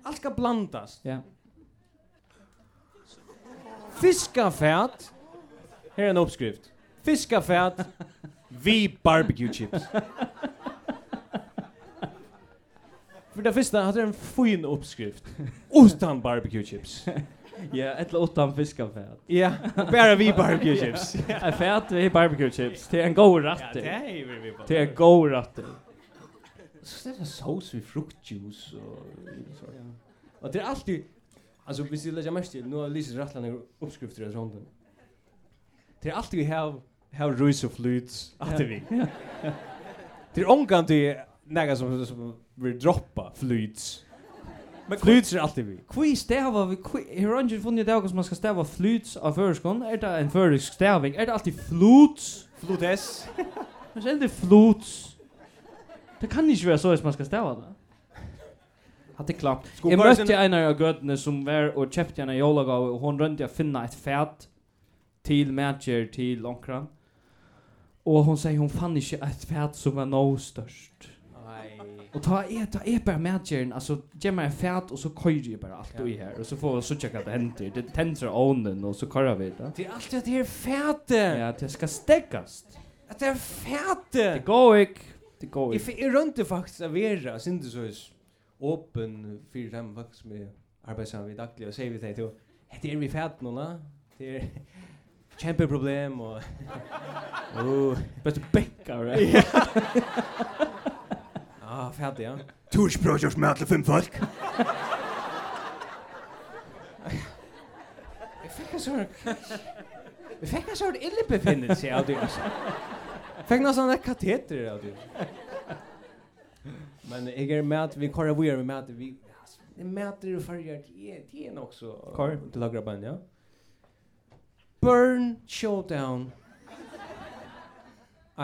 S2: Alt skal blandast.
S3: Ja.
S2: Fiskafat. Her er en oppskrift. Fiskafat vi barbecue chips. For det første hadde jeg en fin oppskrift. Utan barbecue chips.
S3: Ja, etla åttan fiskafæt.
S2: Ja, og bare vi barbecue chips.
S3: Jeg fæt vi barbecue chips. Det er en god
S2: Ja, det
S3: ratter.
S2: er vi på.
S3: Det er en god ratter.
S2: Så det er sås vi fruktjuice og sånt. Og det er alltid... Altså, hvis jeg legger mest til, nå har Lise Rattland en oppskrift til sånt. Det er alltid vi har, har rus og flyt, alltid vi. Det er omgang til nega som, som vil droppa flyt. Men flyt er alltid vi.
S3: Kvi stava vi kvi Her har ikke funnet det som man skal stava flyts av føreskånd Er det en førisk staving? Er det alltid fluts?
S2: Flutes.
S3: Men så er det fluts Det kan ikke være så hvis man skal stava det Hatt det klart Jeg møtte en av gøttene som var og kjøpte henne jolagave Og hun rønte å finne et fæt til matcher til onkran Og hun sier hun fann ikke et fæt som var noe størst
S2: Nei.
S3: Og ta er, ta er bare medgjeren, altså, gjør meg en fæt, og så køyrer jeg bare alt
S2: Ja.
S3: ui her, og så får vi så tjekk at det henter, det tenser ovnen, og så kører vi det.
S2: Det er alltid at det er fæte.
S3: Ja, det skal stekkast.
S2: At det er fæte.
S3: Det går ikke. Det går
S2: Jeg,
S3: ikke.
S2: fi- jeg rønte faktisk å være syndesois åpen for dem folk som er arbeidsamme i daglig, og sier vi til dem, det er vi fæt nå, da. Det er kjempeproblem, og... oh,
S3: Best å bekka, right?
S2: ja. ah, fæt, ja.
S7: Du er språkjørs med alle fem folk.
S2: Jeg fikk en sånn... Jeg fikk en sånn illebefinnelse av det, altså. Jeg fikk noen sånne kateter av det. Men jeg er med at vi kører videre med at vi... altså, Det er mäter och färger, det är- det är nog er så...
S3: Kvar.
S2: Till lagra band, ja. Burn Showdown.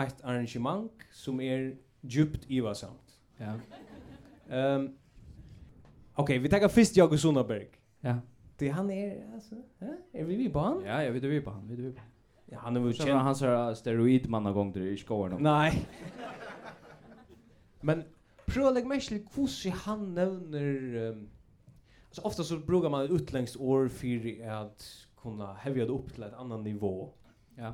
S2: Ett arrangement som är djupt ivarsamt.
S3: Ja.
S2: Um, Okej, vi tar först jag och Sunnaberg.
S3: Ja.
S2: Det er han är, alltså, eh? är vi vid banan?
S3: Ja, jeg vet du vi på han, vet du vi på han.
S2: Ja, han är väl
S3: Så var
S2: känd.
S3: han er sånn steroidmann av gong, det er ikke går nå.
S2: Nej. Men prøv å legge meg til hvordan er han nevner... Um, altså ofta så brukar man utlengst år för att kunna hevja det upp till ett annat nivå.
S3: Ja.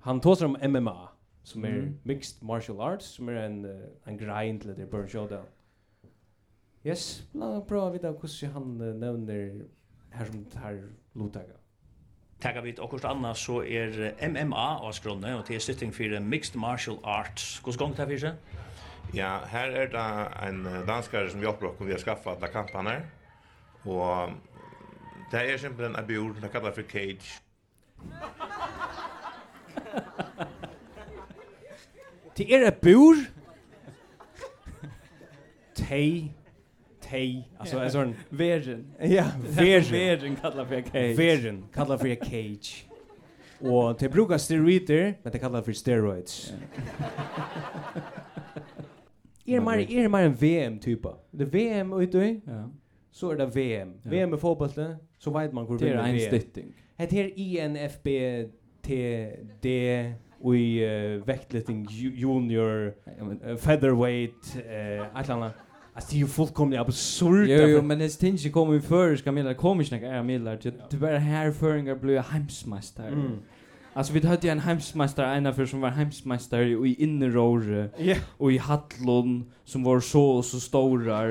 S2: Han tar om MMA, som är
S3: Mm.
S2: mixed martial arts, som är en, eh, en grind till det burn showdown. Yes, la oss prøve å vite hvordan han eh, nevner her som tar blodtaga.
S8: Tackar vi och annars så är MMA av skrönne och det är stöttning för er mixed martial arts. Hur ska det här för sig?
S9: Ja, her er det en danskare som hjelper oss vi har skaffet alle kampene. Og det er simpelthen en bjord, det kallar for cage.
S2: Det er et bur. Tei. Tei. Altså, en sånn...
S3: Veren.
S2: Ja, verren.
S3: Veren kallar for jeg
S2: Verren kallar for en cage. Og det brukar steroider, men det kallar for steroids. Er mer, er mer en VM-typa. Det er VM, vet du?
S3: Ja.
S2: så er det VM.
S3: Ja.
S2: VM i fotboll, så vet man hvor
S3: Det er
S2: vinner
S3: en
S2: VM.
S3: stytting.
S2: Hetta her INFBTD og i uh, vektlifting ju- junior
S3: Ja, men,
S2: eh, featherweight eh uh, atlanna. Alltså det är ju fullkomligt absurt.
S3: Jo, jo, men det stins ikke kommer i føriska midler, kommer ikke noen ære midler, det det er bare her føringer blir heimsmeister.
S2: Mm.
S3: Altså, vi hadde jo en heimsmeister, en av som var heimsmeister i inneråret,
S2: Ja.
S3: og i Hatlon som var så og så stora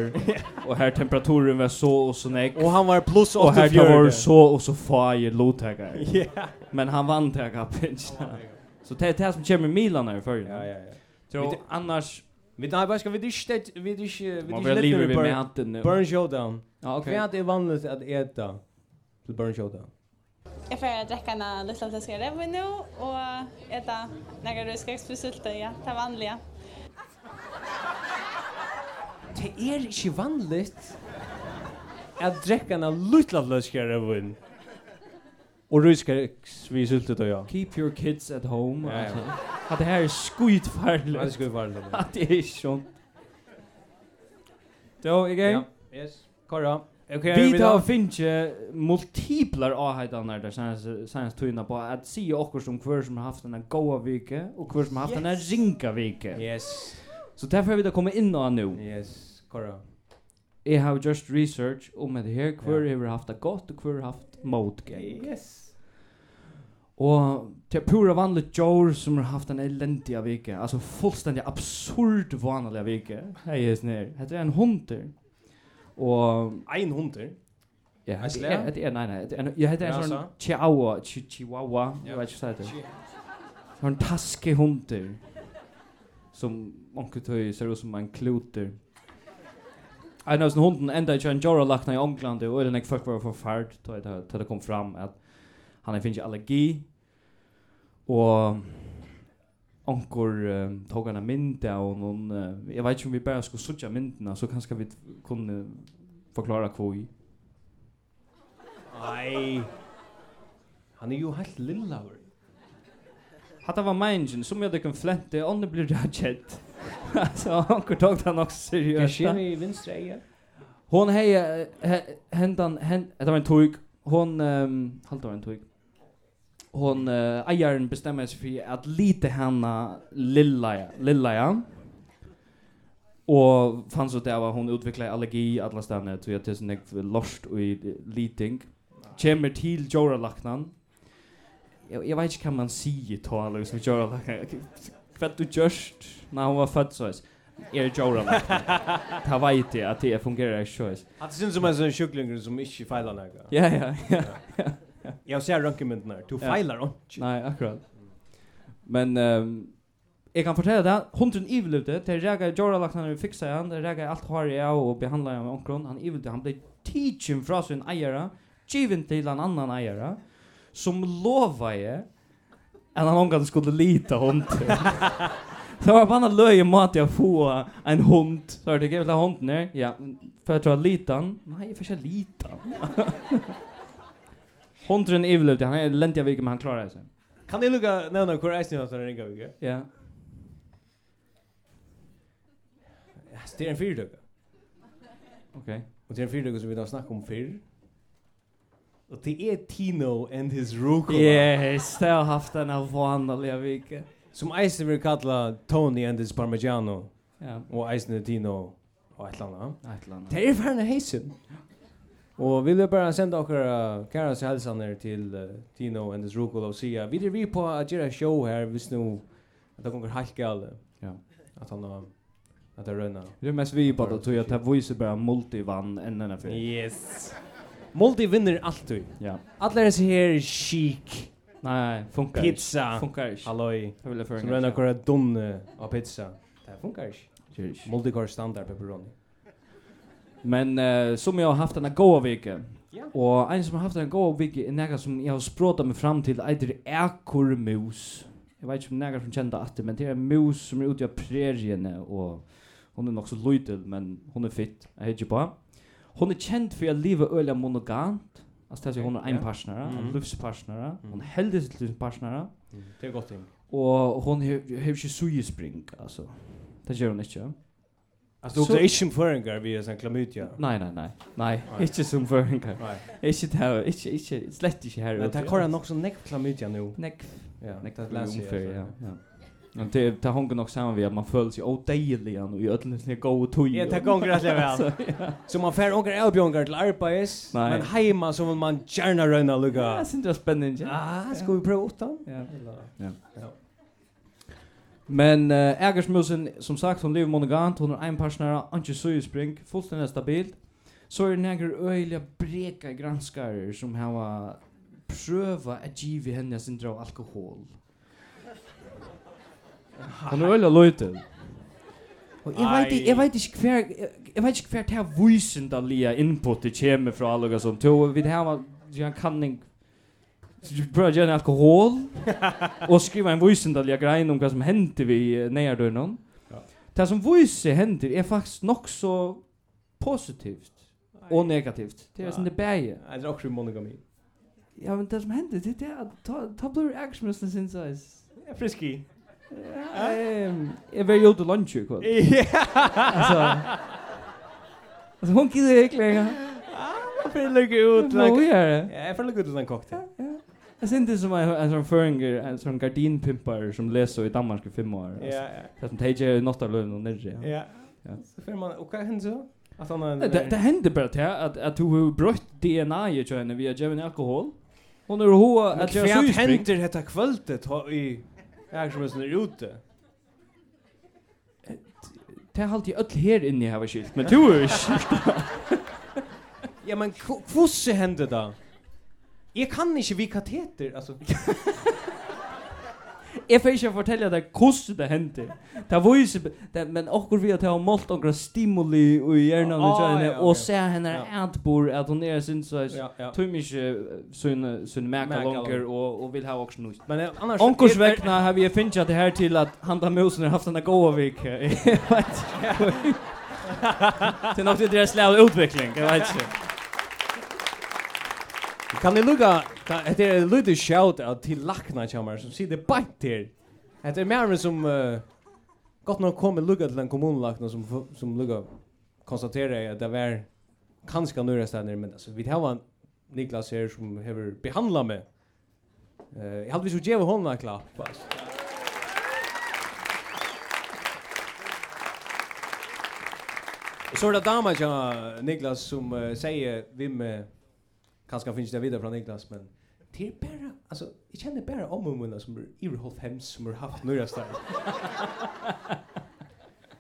S3: och här temperaturen var så och så näck
S2: Och han var plus
S3: och här
S2: 84.
S3: det var så och så fire lotagar.
S2: Ja. Oh
S3: Men han vann det här kappen. Så det är det här som kommer Milan här förr.
S2: Ja, ja, ja.
S3: Så
S2: Vet-
S3: annars
S2: Vi nej, vad ska vi det stet vi det vi
S3: man
S2: det
S3: vill leva
S2: lite
S3: med
S2: burn,
S3: hatten nu.
S2: burn showdown.
S3: Ja,
S2: Okay.
S3: okej.
S2: Vad är vanligt att äta till burn showdown?
S10: Jeg får drekke en liten flaske rødvin nå, og ete noen rødskreksbesylter, ja, det vanlige.
S2: Det är inte vanligt att dricka en liten flaska rödvin. Och ryska vi syltet och jag.
S3: Keep your kids at home.
S2: Ja, ja.
S3: alltså. Att det här är skitfarligt.
S2: Ja, det er skulle vara det.
S3: Att det är sånt. Då, okej.
S2: Ja. Yes. Kora. Okej,
S3: Vi tar finns multiplar avhejtanar där senaste, senaste tydna på att se också som kvar som har haft den här goa vike och kvar som har haft den här ringa vike.
S2: Yes.
S3: Så därför vill jag komma in och nu.
S2: Yes. Kora.
S3: Jag har just research om det här kvar har haft det gott och kvar har haft motgång.
S2: Yes.
S3: Och det är pura er vanligt jord som har haft den eländiga vike. Alltså fullständigt absurd vanliga vike. Hej, just ner. Det är en hunter. Och
S2: Ein hunter.
S3: Ja, det
S2: Iceland?
S3: er, det er, nej, nej, det er, jeg heter en
S2: Rasa?
S3: sånn chihuahua, chi, chihuahua, jeg vet ikke hva det er. Sånn taske hunter, som onker tøy ser ut som en kloter. En av sånne hunden enda ikke en jorda lagt ned i Ångland, og den ikke folk var forferd, til det, til det kom fram at han har finnes allergi, og onker uh, tog han en mynd av noen, uh, jeg vet ikke om vi bare skulle suttje myndene, så kanskje vi kunne forklare hva i.
S2: Nei. Han er jo helt lilla.
S3: Hatta var meinjen, som jag dykken flente, ånne blir rædget. Så han kunne tog den også seriøst. da.
S2: i vinstre eie?
S3: Hon hei, eh, he- hendan, hen, det var en tog, hon, um, halt det var en tog, hon, uh, eieren bestemmer seg for at lite henne lilla, ja, lilla, ja. Og fanns ut det av at hon utviklet allergi alle stedene, så jeg tilsen jeg er lost og i eh, liting. Kjemmer til joralaknan. Jeg, jeg vet ikke hva man sier til alle som joralaknan. Hva du gjørst? Nei, hon var født sånn. Er joralaknan. Ta vet jeg at det fungerer ikke sånn.
S2: Han synes som en sånn sjuklinger som ikke feiler noe.
S3: Ja, ja, ja.
S2: Jeg ser rønkemynden her. Du
S3: Ja.
S2: feiler han.
S3: Nei, akkurat. Men ehm jeg kan fortelle deg, hunden ivelute, til Rega Jorda lagt han og fiksa han, til Rega alt har jeg og behandla han med omkron, han ivelute, han ble teaching fra sin eiere, given til en annan eiere, som lova jeg, at han omgang skulle lita hunden. Så var bara löje mat jag få en hund. Så det gav jag hunden ner. er? Ja, för jag tror att litan. Nej, för jag litan. Hunden är väl ute. Han är länt jag vilken men han klarar sig.
S2: Kan jeg lukka nevna hvor er eisen jeg har sånn ringa vike?
S3: Ja.
S2: Det er en fyrdøkka.
S3: Okej.
S2: Og det er en fyrdøkka som vi har snakket om fyrr. Og det er Tino and his rucola.
S3: Yes, det har haft den här vanliga veckan.
S2: Som eisen vil kalla Tony and his parmigiano.
S3: Ja,
S2: Og eisen er Tino og et eller annet.
S3: ett land.
S2: Det er færne heisen. Og vi vil bare sende dere kære seg helsaner uh, til eh, Tino and his Rucola og sige, vi er vi på at gjøre show her hvis nå at det kommer helt gale.
S3: Ja.
S2: At han har at det rønner.
S3: Det är mest vi på det tror jag att det visar bara multivann än den här filmen.
S2: Yes. Moldi vinner alltid.
S3: Ja. er
S2: Alla dessa här chic
S3: Nej, funkar inte.
S2: pizza.
S3: Funkar inte.
S2: Halloj.
S3: Jag vill föra
S2: Som rönar kora donne av pizza. Det här funkar inte. Moldi kora standard pepperoni.
S3: Men eh, som jag har haft den här goa veckan.
S2: Ja.
S3: Och en som har haft den här goa veckan är något som jag har språtat mig fram till. Det är ekormus. Jag vet inte om några som känner att det, men det är en mus som är ute i prärierna. Och hon är nog er så lojtel, men hon är fitt. Jag heter ju på. Hon är känd för att leva öliga monogamt. Alltså det er är så hon är en
S2: Ja.
S3: partner, en er
S2: Mhm.
S3: livspartner. Hon
S2: Mm.
S3: hällde sig till sin partner.
S2: Det är Mm. er gott ting.
S3: Och hon har ju inte sugespring, alltså. Det gör hon inte.
S2: Alltså du är inte föringar vi är sån klamydia.
S3: Nei, nei, nei. Nei, ikke som føringar. Nei. Ikke det her, ikke, ikke, slett ikke her.
S2: Men det har han också neck klamydia nu.
S3: Neck.
S2: Ja,
S3: Neck,
S2: neck
S3: det er
S2: läser
S3: unfair, ja. ja. Men det, er- det hänger nog samman vid att man føler sig odejlig och i ödlen sin goa tog.
S2: Ja, det gånger rätt
S3: Så,
S2: väl.
S3: ja.
S2: Så man får åker avbjörngar till arbetes,
S3: Nei.
S2: men hemma så vill man gärna röna
S3: Ja,
S2: lugga.
S3: synes det er spennende.
S2: Ah, ska vi prova utan?
S3: Ja.
S2: Ja.
S3: Ja. Men uh, Egersmusen, som sagt, hon lever monogamt, hon har en partner, anki suyspring, fullständigt stabilt. Så er det neger øyliga breka granskarer som hava prøva at givi henne sin av alkohol. Hon er øyliga løyte. Og jeg veit, i- jeg veit ikke hver, jeg, jeg veit ikke hver det her vysendalia inputet kommer fra allega som to, vi det her var, jeg kan ikke prøva gjerne alkohol, og skriva en vysendalja grein um om hva som hender vi neiardøynon.
S2: Ja.
S3: Det som vyse hender er faktisk nok så positivt og negativt. Det er sånn det bæge.
S2: Jag drar också i monogami.
S3: Ja, men det som hender, det er at ta, ta blur aksjmøsene sin size.
S2: Ja, er friski.
S3: Ja, em, Jeg var jo til lunch i kveld. Altså, altså hun gidder ikke lenger.
S2: Jag får lägga ut
S3: Hva
S2: en
S3: vi gjør det?
S2: Ja, jag får lägga ut en um cocktail.
S3: Jeg synes det er som en en sånn føringer, en sånn gardinpimper som leser i Danmark i fem år. altså.
S2: Ja,
S3: Det er som teger i nattarlønnen og nirri.
S2: ja.
S3: ja.
S2: Ja.
S3: Ja.
S2: Så får man och vad händer så? Att han har en
S3: Nei, Det, det hender bare til at, at hun har brøtt DNA i kjønne via Jevin alkohol. Hun er hoa
S2: Men
S3: at jeg
S2: Vad
S3: syspring.
S2: händer detta kvället ha i jag som är
S3: er
S2: sån där ute?
S3: Det er alltid öll her inne jeg har skilt, men du er ikke.
S2: Ja, men kvosse hände då? Jag kan inte vi kateter, alltså.
S3: Jeg får ikke fortelle deg hvordan det hender. Det viser, det, men akkur vi at jeg har målt noen stimuli i hjernen i
S2: Ah,
S3: kjønne,
S2: ja, ok.
S3: og ser henne
S2: Ja.
S3: atbor at hun er sin så
S2: Ja, ja.
S3: Tum ikke sunne sunne merka
S2: Mæka
S3: langer
S2: langer.
S3: og, og vil ha også noe.
S2: Men eh, annars
S3: Onkurs
S2: er- er-
S3: vekna har vi finnet det her til at han da musen har haft en goa vik. eh, Jeg vet ikke. Det er nok det deres slag utvikling, jeg vet ikke.
S2: Kan er ni lugga, det är en liten shout-out till Lackna Kjammar som sitter bant här. Det är mer som uh, gott nog kommer lugga till en kommunlackna som, f- som lugga konstaterar att det var kanske några städer, men alltså vi har en Niklas här som har behandlat mig. Eh, jag hade vi så gett honom en klapp. Alltså. Så är det damen tja, Niklas som uh, säger vem uh, Kanske finns det vidare från Niklas, men det är bara, alltså, jag känner bara om mummorna som är i Rolfheim som har er haft några ställen.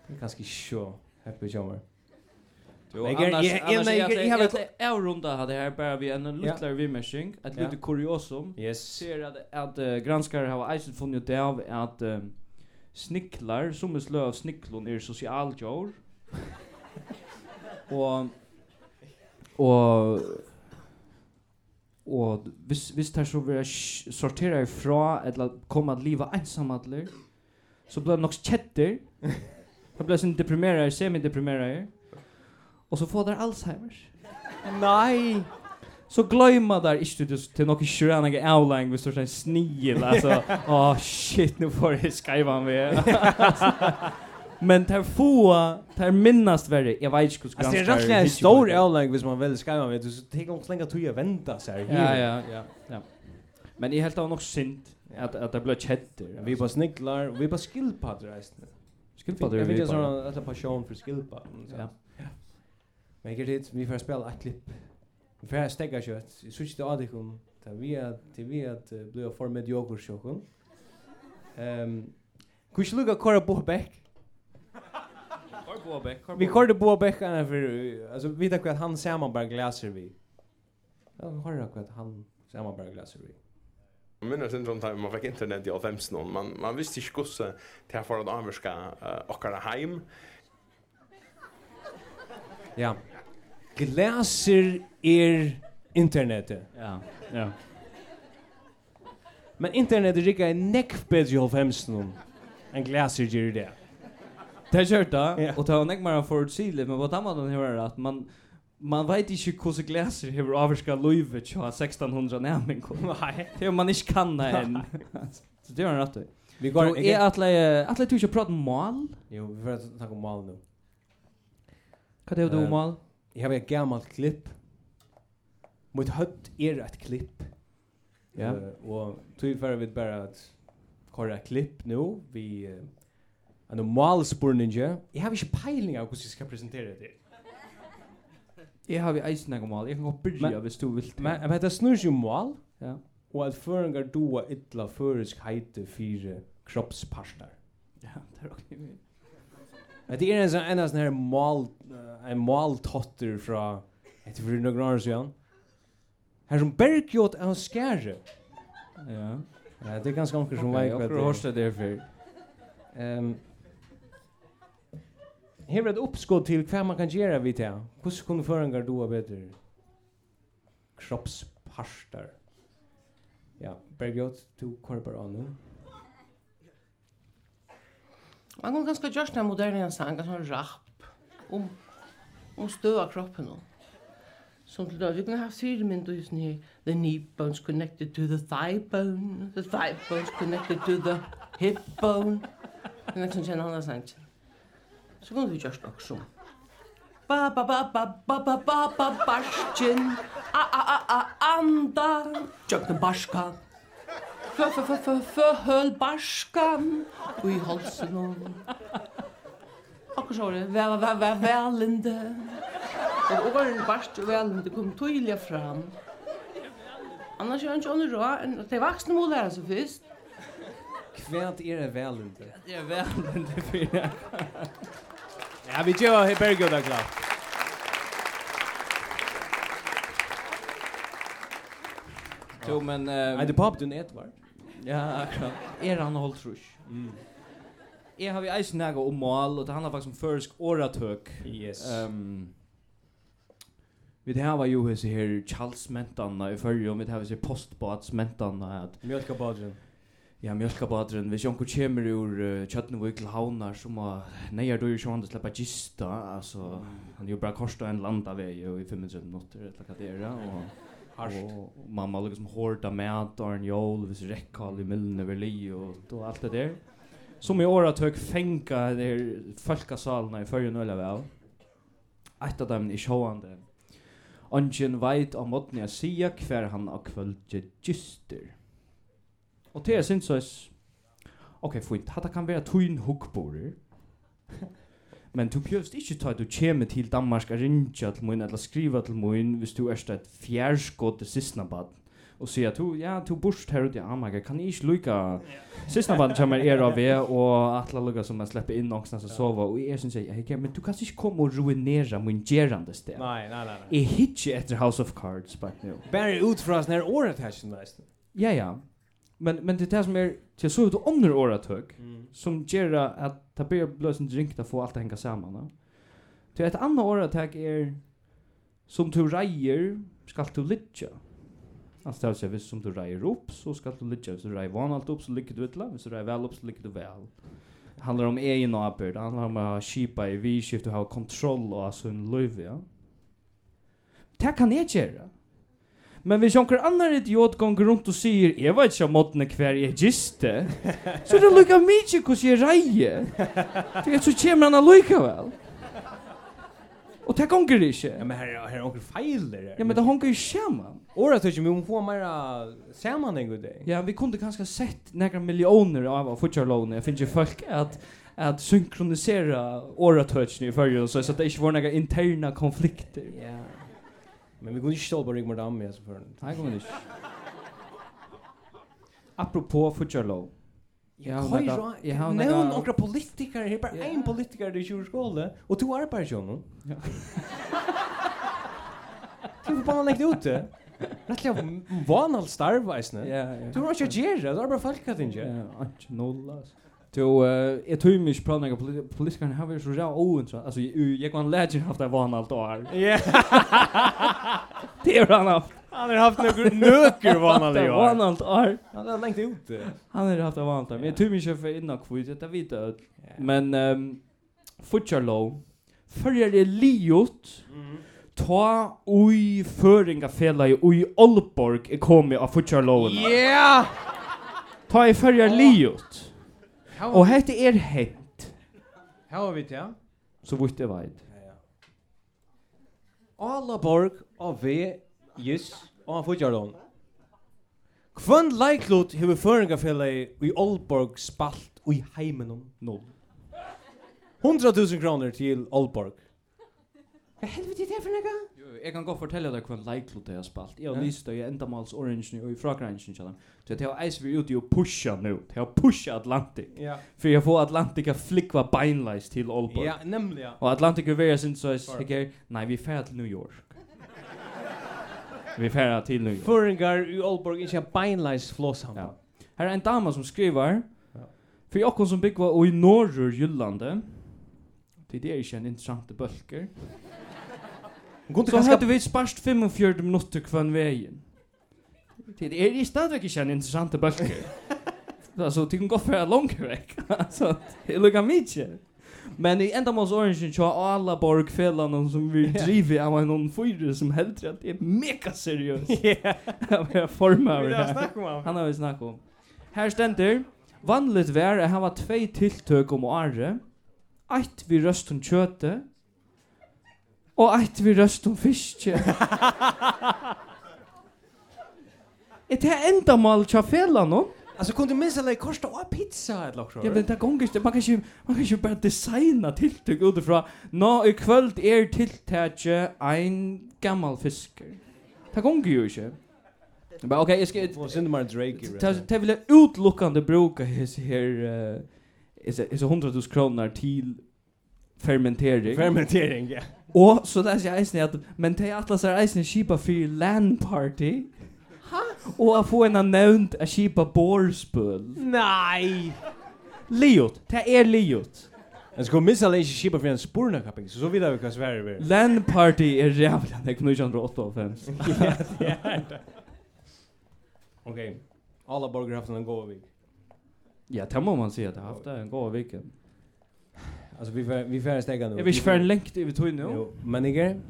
S2: det är ganska så happy jobbar. Men jeg er-
S3: annars,
S2: jeg- jeg-
S3: annars,
S2: men jeg-
S3: jeg, jeg,
S2: jeg har-
S3: jeg, jeg, avrunda hadde her bare vi en luttler vimmersing, et
S2: Ja.
S3: lite kuriosum.
S2: Yes.
S3: Ser at, at uh, granskar har eisen funnet ut av at um, snicklar, som er slø av snicklon, er sosialjår. og og og hvis hvis det så vera sortera ifra eller koma at liva einsamallir så blir det nok kjetter det blir sin deprimerer semi deprimerer og så får der alzheimers
S2: Nej!
S3: så glömma där inte du till något sköna grej outline med sorts snigel alltså åh shit nu får jag skriva han med men tar få tar minnast värre jag vet inte hur
S2: Alltså det är rätt en stor avlägg hvis man väl skriver med det, så tänk om slänga tog jag vänta så här.
S3: ja ja ja ja men i helt av nog synd att att det blir chatter
S2: Vi bara snicklar, vi bara skillpadder resten.
S3: Skillpadder
S2: Jag
S3: er
S2: fick
S3: vi
S2: en
S3: bara.
S2: sån här passion för skillpadder. så.
S3: Ja.
S2: Men jeg er tid, vi får spela ett klipp. Vi får stegga kjøtt. Jeg synes ikke det adikon. Det er vi at, det er vi at uh, blir for medioker sjåkon. Um, kan ikke lukka kåre på Beck? Vi kåre på Beck han er for, uh, altså vi vet hva han saman bare glaser vi. Ja, vi har hva han saman bare glaser vi.
S11: Jag minns inte om det här, man fick internet i 15 någon. Man, man visste inte hur det här för att avvärska uh, åkara hem.
S2: Ja. Glaser er internetet.
S3: ja ja
S2: Men internetet rikker er nekk bedre i 90 enn glaser gjør det.
S3: Det kjørte,
S2: Ja.
S3: er og det var nek mer forutsigeligt, men på den måten har det at man, man vet ikke hvordan glaser har avvarska løyvet til 1600 nærmenn. Nei. Det er jo man ikke kan det enn. Så det var en rett. er
S2: Vi
S3: um Du, jeg atle, atle du ikke prate om mal?
S2: Jo, vi får snakke om mal nå.
S3: Hva er det du
S2: Eh,
S3: mal?
S2: Jeg har et gammalt klipp. Mitt høtt er et klipp.
S3: Ja.
S2: Eh, og tog for vi bare at kåre et klipp nå. Vi uh, en malspurning. Jeg har ikke peiling av hvordan jeg skal presentere det.
S3: Jeg har vi eisen jeg mal. Jeg kan godt byrja
S2: Men-
S3: hvis du vil.
S2: Men, men det snur seg om mal.
S3: Ja.
S2: Og at føringar doa ytla førisk heite fire kroppspartar.
S3: Ja, det er ok.
S2: Men det er en sånn en sånn her mal eh, en maltotter fra etter for noen år siden. Her som Bergljot er en skære.
S3: Ja.
S2: Ja, det er ganske anker som
S3: Ok,
S2: vei hva
S3: okkur
S2: det
S3: hørst
S2: er.
S3: det der før.
S2: Um, her er et oppskåd til hva man kan gjøre vidt det. Hvordan kunne føringar doa bedre kroppspartar? Ja, Bergljot, du kvar bare av nå.
S12: Man kan ganske gjøre sånne moderne sanger, sånn rapp, om, om støv av kroppen. Og. Som til død, vi kunne ha fire minutter i sånn her, the knee bones connected to the thigh bone, the thigh bones connected to the hip bone. er Men jeg kan kjenne andre sanger. Så kunne vi gjøre noe sånn. Ba ba ba ba ba ba ba ba barskin. A a a a anda. Jökna barskan. Fø fø fø fø fø høl barskan. Ui halsen og... Akkur så var det. Væ væ væ velende. Og åren barst og velende kom tydelig fram. Annars er han ikke ånden rå, enn at de vaksne må lære seg først.
S2: Hva er det velende?
S3: Det er velende fire.
S2: Ja, vi gjør Bergljot er klart.
S3: Jo, men... ehm,
S2: Nei, det er pop du Edvard.
S3: Ja, akkurat. Er han holdt rush?
S2: Mm.
S3: Jeg har vi eisen jeg om mål, og det handler faktisk om først åretøk.
S2: Yes.
S3: Um, vi det her var jo hese her Charles-mentene i følge, og vi det her var hese postbatsmentene. at-
S2: Mjölkabadren.
S3: Ja, mjölkabadren. Hvis jonko kommer ur uh, Kjøttenvøy til Havnar, så må neier du jo ikke han til å slippe gista. Altså, han er jo bare korset en landavei og i 25 minutter, eller hva det er. ja, Og,
S2: Harst.
S3: Og man må liksom hårda med og en jól, hvis rekkal i millene vil li og, og alt det der. Som i året tøk fenga der folkasalene i førre nøyla vel. Et av dem i sjåande. Ongen veit av måten jeg sier hver han av kvöldje gyster. Og er til jeg synes sås, ok, fint, hatta kan være tuin hukkborer. Men du behøvst ikke ta at du kommer til Danmark og rinja til mun eller skriva til mun hvis du erst et fjærskått til sistnabad og sier at du, ja, du burst her ute i Amager, kan jeg ikke lukka sistnabad kommer er av ved og atla lukka som jeg slipper inn åksna som sova og jeg synes jeg, jeg, men du kan ikke komme og ruinera mun gerande sted.
S2: Nei, nei, nei. nei.
S3: Jeg hitje etter House of Cards bak nu.
S2: Bare ut fra sånne her åretæsjen, nesten.
S3: Ja, ja. Men, men det er det som er, til så ut og ånder åretøk,
S2: Mm.
S3: som gjør at det blir bløsen drinkt å få alt det henga saman. Ja. Til et annet åretøk er, som du reier, skal du litja. Altså det vil si, hvis som du reier opp, så skal du litja. Hvis du reier vanalt opp, så ligger du utla. Hvis du reier vel opp, så ligger du vel. Det handlar om egen arbeid, det handlar om å ha kipa i vidskift og ha kontroll og ha sin løyve, ja. Det kan jeg gjøre. Men hvis jonker annar idiot gonger rundt og sier Jeg vet ikke om måttene hver jeg giste Så er det lukka mykje hos jeg reier For jeg så kommer han allukka vel Og det gonger ikke Ja,
S2: men her, her er onker feiler her.
S3: men det honker ikke sammen
S2: Åretæsjen, vi må få mer uh, sammenheng ut det.
S3: Ja, vi kunde kanskje sett några miljoner av av futjarlån Jeg finner ikke folk at at synkronisera åratøkene i fyrrjun så så at det ikke var några interna konflikter.
S2: Ja. Men vi kunne ikke stål på Rigmar Damme, jeg som før.
S3: Nei, kommer det ikke. Apropos futjarlån.
S2: Ja, Køyra,
S3: jeg har
S2: nevn
S3: några-
S2: okra politikere her, bare ein politikere i kjurskåle, og to arbeider ikke honom.
S3: Ja.
S2: Du får bare legge det ute. Rettelig av vanalt starv, eisne.
S3: Ja, ja.
S2: Du har ikke å gjøre, du har bare folk at ikke.
S3: Ja, ikke noll, altså. Jo, eh, jeg tror mye på når politi- politikerne har vært så ræv oen, så altså, jeg, jeg kan lære haft en vann alt år.
S2: Ja.
S3: det er han haft.
S2: Han har haft nøkker, nøkker vanalt i år.
S3: Vann alt år.
S2: Han har lengt det ute.
S3: Han har haft en vann alt år. Men jeg tror mye for innan kvitt, dette vet jeg. Men um, Futjarlov, følger det liot,
S2: Mm.
S3: ta ui føringafela i ui Aalborg er kommet av Futjarloven.
S2: Ja!
S3: Ta i følger liot.
S2: Her var-
S3: Og hette er hett,
S2: Her har vi det, ja.
S3: så vidt jeg vet.
S2: Alaborg av V, Jis, og han fudjarlån. Hvønn leiklot hever føringafellet i Aalborg spalt og i heimenom nå? 100 000 kroner til Aalborg.
S3: Hva helvete er det for noe? Jeg kan godt fortelle deg hva en leiklot jeg har spalt. Jeg har
S2: Ja.
S3: lyst til å endamals orangen og i fragransjen til dem. Så jeg har eis vi ute og pusha nå. Jeg har pusha Atlantik.
S2: Ja.
S3: For jeg får Atlantik å flikva beinleis til Aalborg.
S2: Ja, nemlig, ja.
S3: Og Atlantik er verre sin så jeg
S2: Sorry.
S3: sikker, nei, vi færa til New York. Vi færa til New York.
S2: Føringar i Aalborg ikke har beinleis flåsamband.
S3: Her er en dama som skriver For jokken som byggva og i norrur Jyllande Til det er ikke en interessante bølger Så
S2: kanskje-
S3: hadde vi sparst 45 minutter kvann veien Til det er i stadigvæk ikke en interessante bølger Altså, det kan gå for langer vekk Altså, det lukker mykje Men i enda mås orangen tja alla borgfellan som vi driver av en fyra som heldur at det er mega seriøst.
S2: Ja.
S3: Han var forma
S2: Vi
S3: over
S2: har snakk om
S3: det.
S2: han.
S3: Han har vi snakk om. um. Her stender, vanligt vær er hava tvei tiltøk um om året, eitt vi røst om kjøte, og eitt vi røst om fiske. Er det enda mal tja fellan om?
S2: Altså, kunne du minst eller kosta og pizza et lakra?
S3: Ja, men det gonger ikke. Man kan ikke, man kan ikke bare designa tiltak utifra. Nå i kvöld er tiltaket ein gammal fisker. Det gonger jo ikke. Men ok, jeg skal...
S2: Og synd mer Drake. i
S3: Det
S2: røret.
S3: det vil jeg utelukkande bruka hese her... eh, hese- Hese 100 000 kroner til fermentering.
S2: Fermentering, ja.
S3: Og så det er eisen at... Men det er atlas er eisen kipa for land party. Og å få en nevnt er kipa borspøl.
S2: Nei!
S3: Liot, det er liot.
S2: Jeg skulle minst eller ikke kipa for en spurnakapping, så så vidar vi hva sverre vi er.
S3: Land party er jävla det kunde ju inte åtta av fem.
S2: Ja, det er det. Ok, alla borger har haft en god vik.
S3: Ja, det må man säga det har haft det en god vecka.
S2: Alltså vi får vi får stäga nu.
S3: Jag vill inte för längt över tog nu.
S2: Jo, men igen.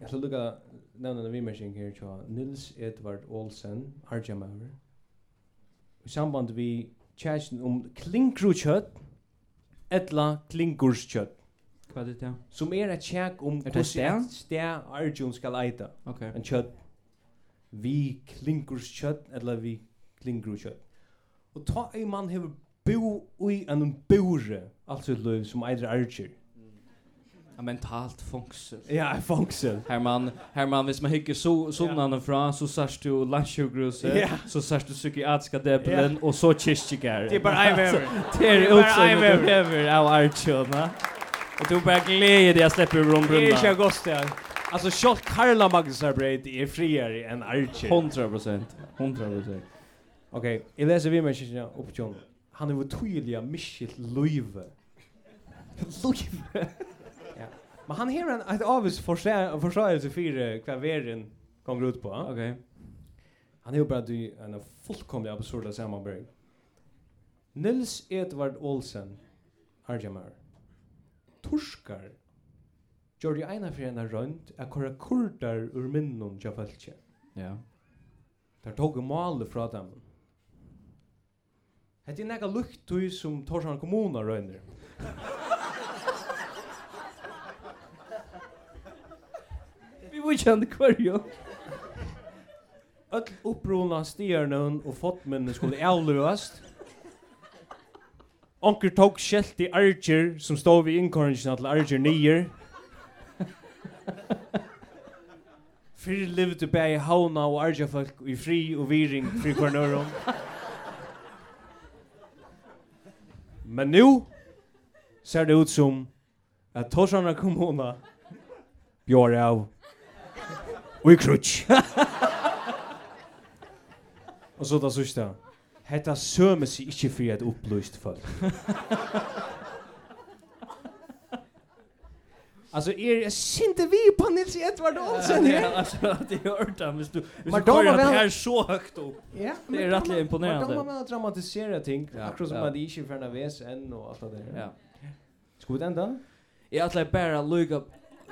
S2: Jag ska lucka nämna en vimersing här tror Nils Edvard Olsen, Arjamauer. I samband vi chatten om klinkrukött etla klinkurskött
S3: Vad det är.
S2: som är ett check om
S3: det
S2: hvordan
S3: stær?
S2: et stær Arjun skal eita.
S3: Okej.
S2: En kjøtt. Vi klinkurskjøtt, eller vi klinkurskjøtt. Og ta ein mann hever bo ui en bore, altså et løy som eitre Arjun.
S3: En mentalt fångsel.
S2: Ja, en fångsel.
S3: Herman, Herman, hvis man hikker så, sånn fra, så sørst du landsjøgruset,
S2: Ja.
S3: så sørst du psykiatriska debelen,
S2: Ja.
S3: og så kyrkjegæren.
S2: Det er bare ei vever.
S3: Det er
S2: Det er bare ei
S3: utsøgnet du
S2: vever.
S3: vever av Arjuna. Og du bare gleder deg å slippe ur
S2: Det
S3: om
S2: er
S3: brunna.
S2: ikke godt sted. Altså, sjålt Karla Magnus Arbeid er friere enn Archer.
S3: 100%. 100%.
S2: Ok, jeg leser vi med kyrkja opp, John. Han er jo tydelig miskilt løyve. Løyve? ja. Men han har en et avvis forsøyelse for hva verden kommer ut på.
S3: Ok.
S2: Han er jo bare du- en fullkomlig absurda samarbeid. Nils Edvard Olsen, Arjamar, torskar gjør det ene for ene rønt at kora kurdar ur minnen til fæltje.
S3: Ja.
S2: Der tog malet fra dem. Hette er nekka luktøy som Torsan kommuna røyner.
S3: Vi må kjenne hver jo.
S2: Öll upprona stjärnan og fotmennene skulle avløst. Onker tók skellt i Archer som stod vid inkorringen til Archer nyer. Fyrir livde bæði hauna og Archer-folk i fri og viring fri kvarnørum. Men nu ser det ut som at Torsana kommuna bjør av og i krutsk. Og så det sørste. Hetta sømer seg ikke for et opplyst folk. altså, er sinte vi på Nils Edvard Olsen her?
S3: Altså, det er ordet hvis du hvis du
S2: Men da må vi-
S3: kører det her så høyt opp.
S2: Ja, men
S3: det er
S2: da må-
S3: rettelig
S2: Men da må
S3: imponerende.
S2: man dramatisere ting,
S3: Ja,
S2: akkurat som
S3: ja.
S2: at de ikke fjerner VSN og alt det der.
S3: Ja.
S2: Skal vi den da?
S3: Jeg ætla bare å lykke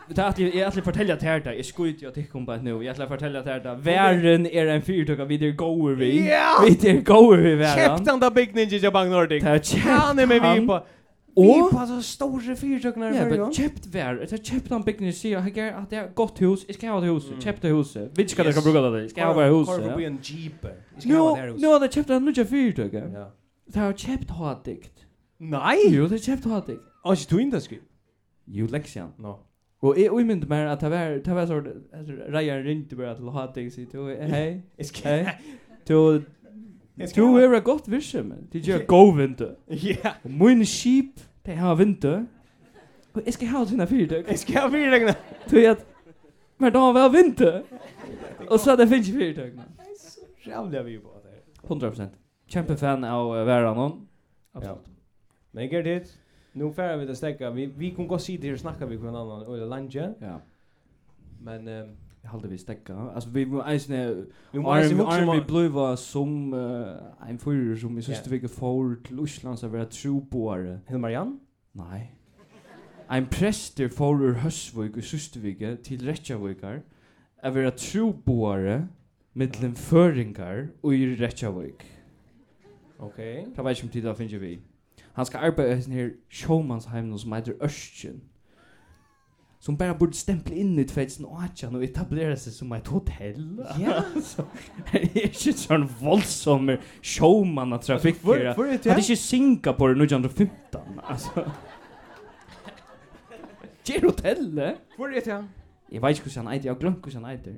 S3: Det er ætla- jeg ætla å fortelle til her da. Jeg skut jo til kompa nå. Jeg ætla å fortelle til her da. Væren er en fyrtøkka vi der goer vi.
S2: Ja!
S3: Vi der goer vi væren.
S2: Kjøpte han da Big Ninja Japan Nordic?
S3: Det er kjøpt
S2: Han er med vi
S3: han.
S2: på.
S3: Og
S2: på så store fyrtøkner
S3: Ja, men kjøpt vær. Jeg kjøpt han bygning sier jeg har at det er et godt hus. Jeg skal ha det
S2: Mm.
S3: huset. Kjøpt det huset. Vi skal det kan bruke det. Jeg skal ha bare huset.
S2: Korver på
S3: ja.
S2: en jeep. Jeg skal
S3: Nå,
S2: ha det her huset.
S3: nå har det kjøpt han nødja fyrtøkker. Ja. Det har kjøpt hatdikt.
S2: Nei!
S3: Jo, det har kjøpt hatdikt.
S2: Og ikke tog inn det skriv.
S3: Jo, leksjan.
S2: Nå.
S3: Og jeg umynte meg at det var, det var sånn, Reier ringte bare til hatdikt sier, «Du, hei,
S2: Jeg skal-
S3: hei, du, Du er et godt virke, men det gjør god vindu.
S2: Ja.
S3: Og mine skip, de har vindu. Og jeg skal ha denne fyrtøk.
S2: Jeg skal ha fyrtøkene.
S3: Du vet, men da har vi ha vindu. Og så er det finnes fyrtøkene.
S2: Rævlig vi på det.
S3: 100%. Kjempe fan av uh, Veranon.
S2: Ja. Men gert hit. Nu färra vi det stäcka. Vi vi kan gå se det och snacka vi med annan eller lunge.
S3: Ja.
S2: Men ehm
S3: Jeg halde vi stekka. Altså, vi må eisne...
S2: Vi
S3: Vi
S2: må
S3: må
S2: eisne
S3: eisne...
S2: hugsa um om
S3: Arne, vi
S2: at-
S3: bløyva som uh, en fyrir som i
S2: Ja.
S3: siste vike får til Osland som var troboare.
S2: Hilmarian?
S3: Nei. Ein prester får ur Høsvøk i siste vike til Reykjavíkar er vera troboare mittlen føringar og i Reykjavík.
S2: okej.
S3: Det vet ikke om tid da finner vi. Han skal arbeide i denne showmansheimen som heter Østjen. Som bare burde stemple inn i 2018 og etablere seg som et hotell.
S2: Ja.
S3: Så, det er ikke sånn voldsomme showman av trafikker.
S2: Hvor- hvor er det?
S3: Hadde ikke Singapore 1915, altså. Gjør hotellet?
S2: Hvor er är det?
S3: Jeg vet ikke hvordan han eiter, jeg har glemt hvordan han eiter.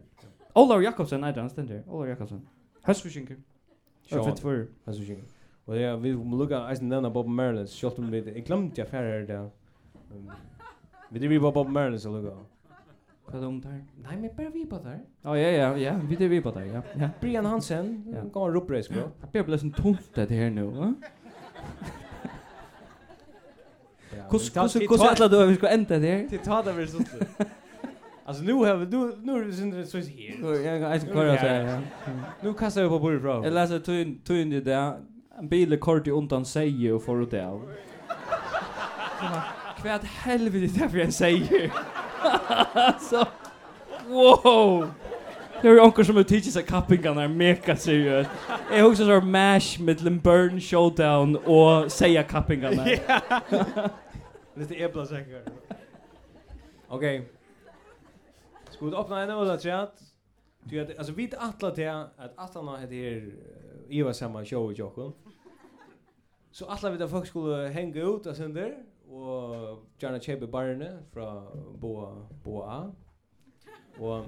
S3: Olav Jakobsen eiter, han stender. Olav Jakobsen. Høstforsinker. Sjåan. Sjåan.
S2: Alltså jag. Och ja, vi må lukka eisen denna Bob Merlins, sjålt om vi, jeg glemte jeg færre det. Um, Vi driver på Bob Merlins og lukka.
S3: Hva er det om der?
S2: Nei, men bare
S3: er
S2: vi på der.
S3: Ja, ja, ja, ja, vi det vi er på det, ja. ja.
S2: Brian Hansen,
S3: Ja.
S2: gav en ruppreis, bro.
S3: Det blir blivit en tomt det här nu, va? Kus
S2: Ta-
S3: kus
S2: vi
S3: kus
S2: tar-
S3: alla då vi ska ända er det här.
S2: Til ta det vi sånt. Alltså nu har vi, nu, nu är det sånt så här.
S3: Jag kan inte köra så här.
S2: Nu kastar vi på bordet fra.
S3: Jag läser tun tun det där. En bil är kort i undan säger och får ut det av. Kvärt helvete er det för en säger. Så wow. Det är onkel som har teachit sig kappingarna är er mega seriöst. Jag också så mash mellan burn showdown och säga kappingarna.
S2: Lite epla säkert. Okej. Ska vi öppna en öl chat? Du att alltså vi attla till att attarna heter er Eva samma show i Jokon. Så attla vi att folk skulle hänga ut och sen där och gärna köpa barne från Boa Boa. Och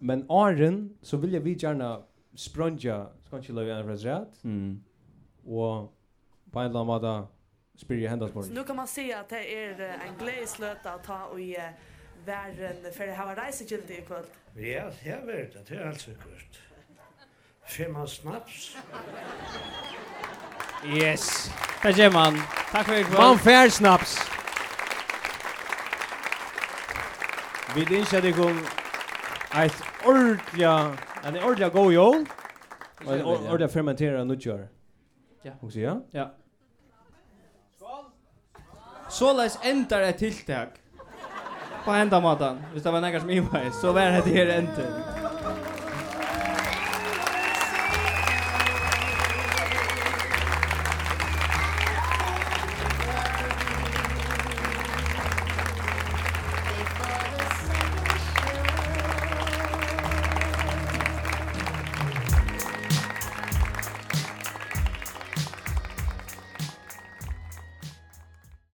S2: men Arren så vill jag vi gärna sprunja ska inte lova en rätt
S3: Mm.
S2: och på en eller annan måte spyrir hendas
S13: Så nu kan man se att det är eh, en glädjeslöt att ta eh, och ge världen för det här var reisegilde i kväll.
S14: Ja, det vet det. er Det är alltså kust. Femma snaps.
S2: Yes.
S3: Tack så man. Tack för ikväll.
S2: Man fær snaps. Vi dinskja dig om eit ordja, en ordja god jól, og en or- ordja fermentera nudjar.
S3: Ja.
S2: Og så ja?
S3: Ja. Såleis endar et tiltak. På enda matan. Hvis det var nekkar som ivæg, så var det her enden.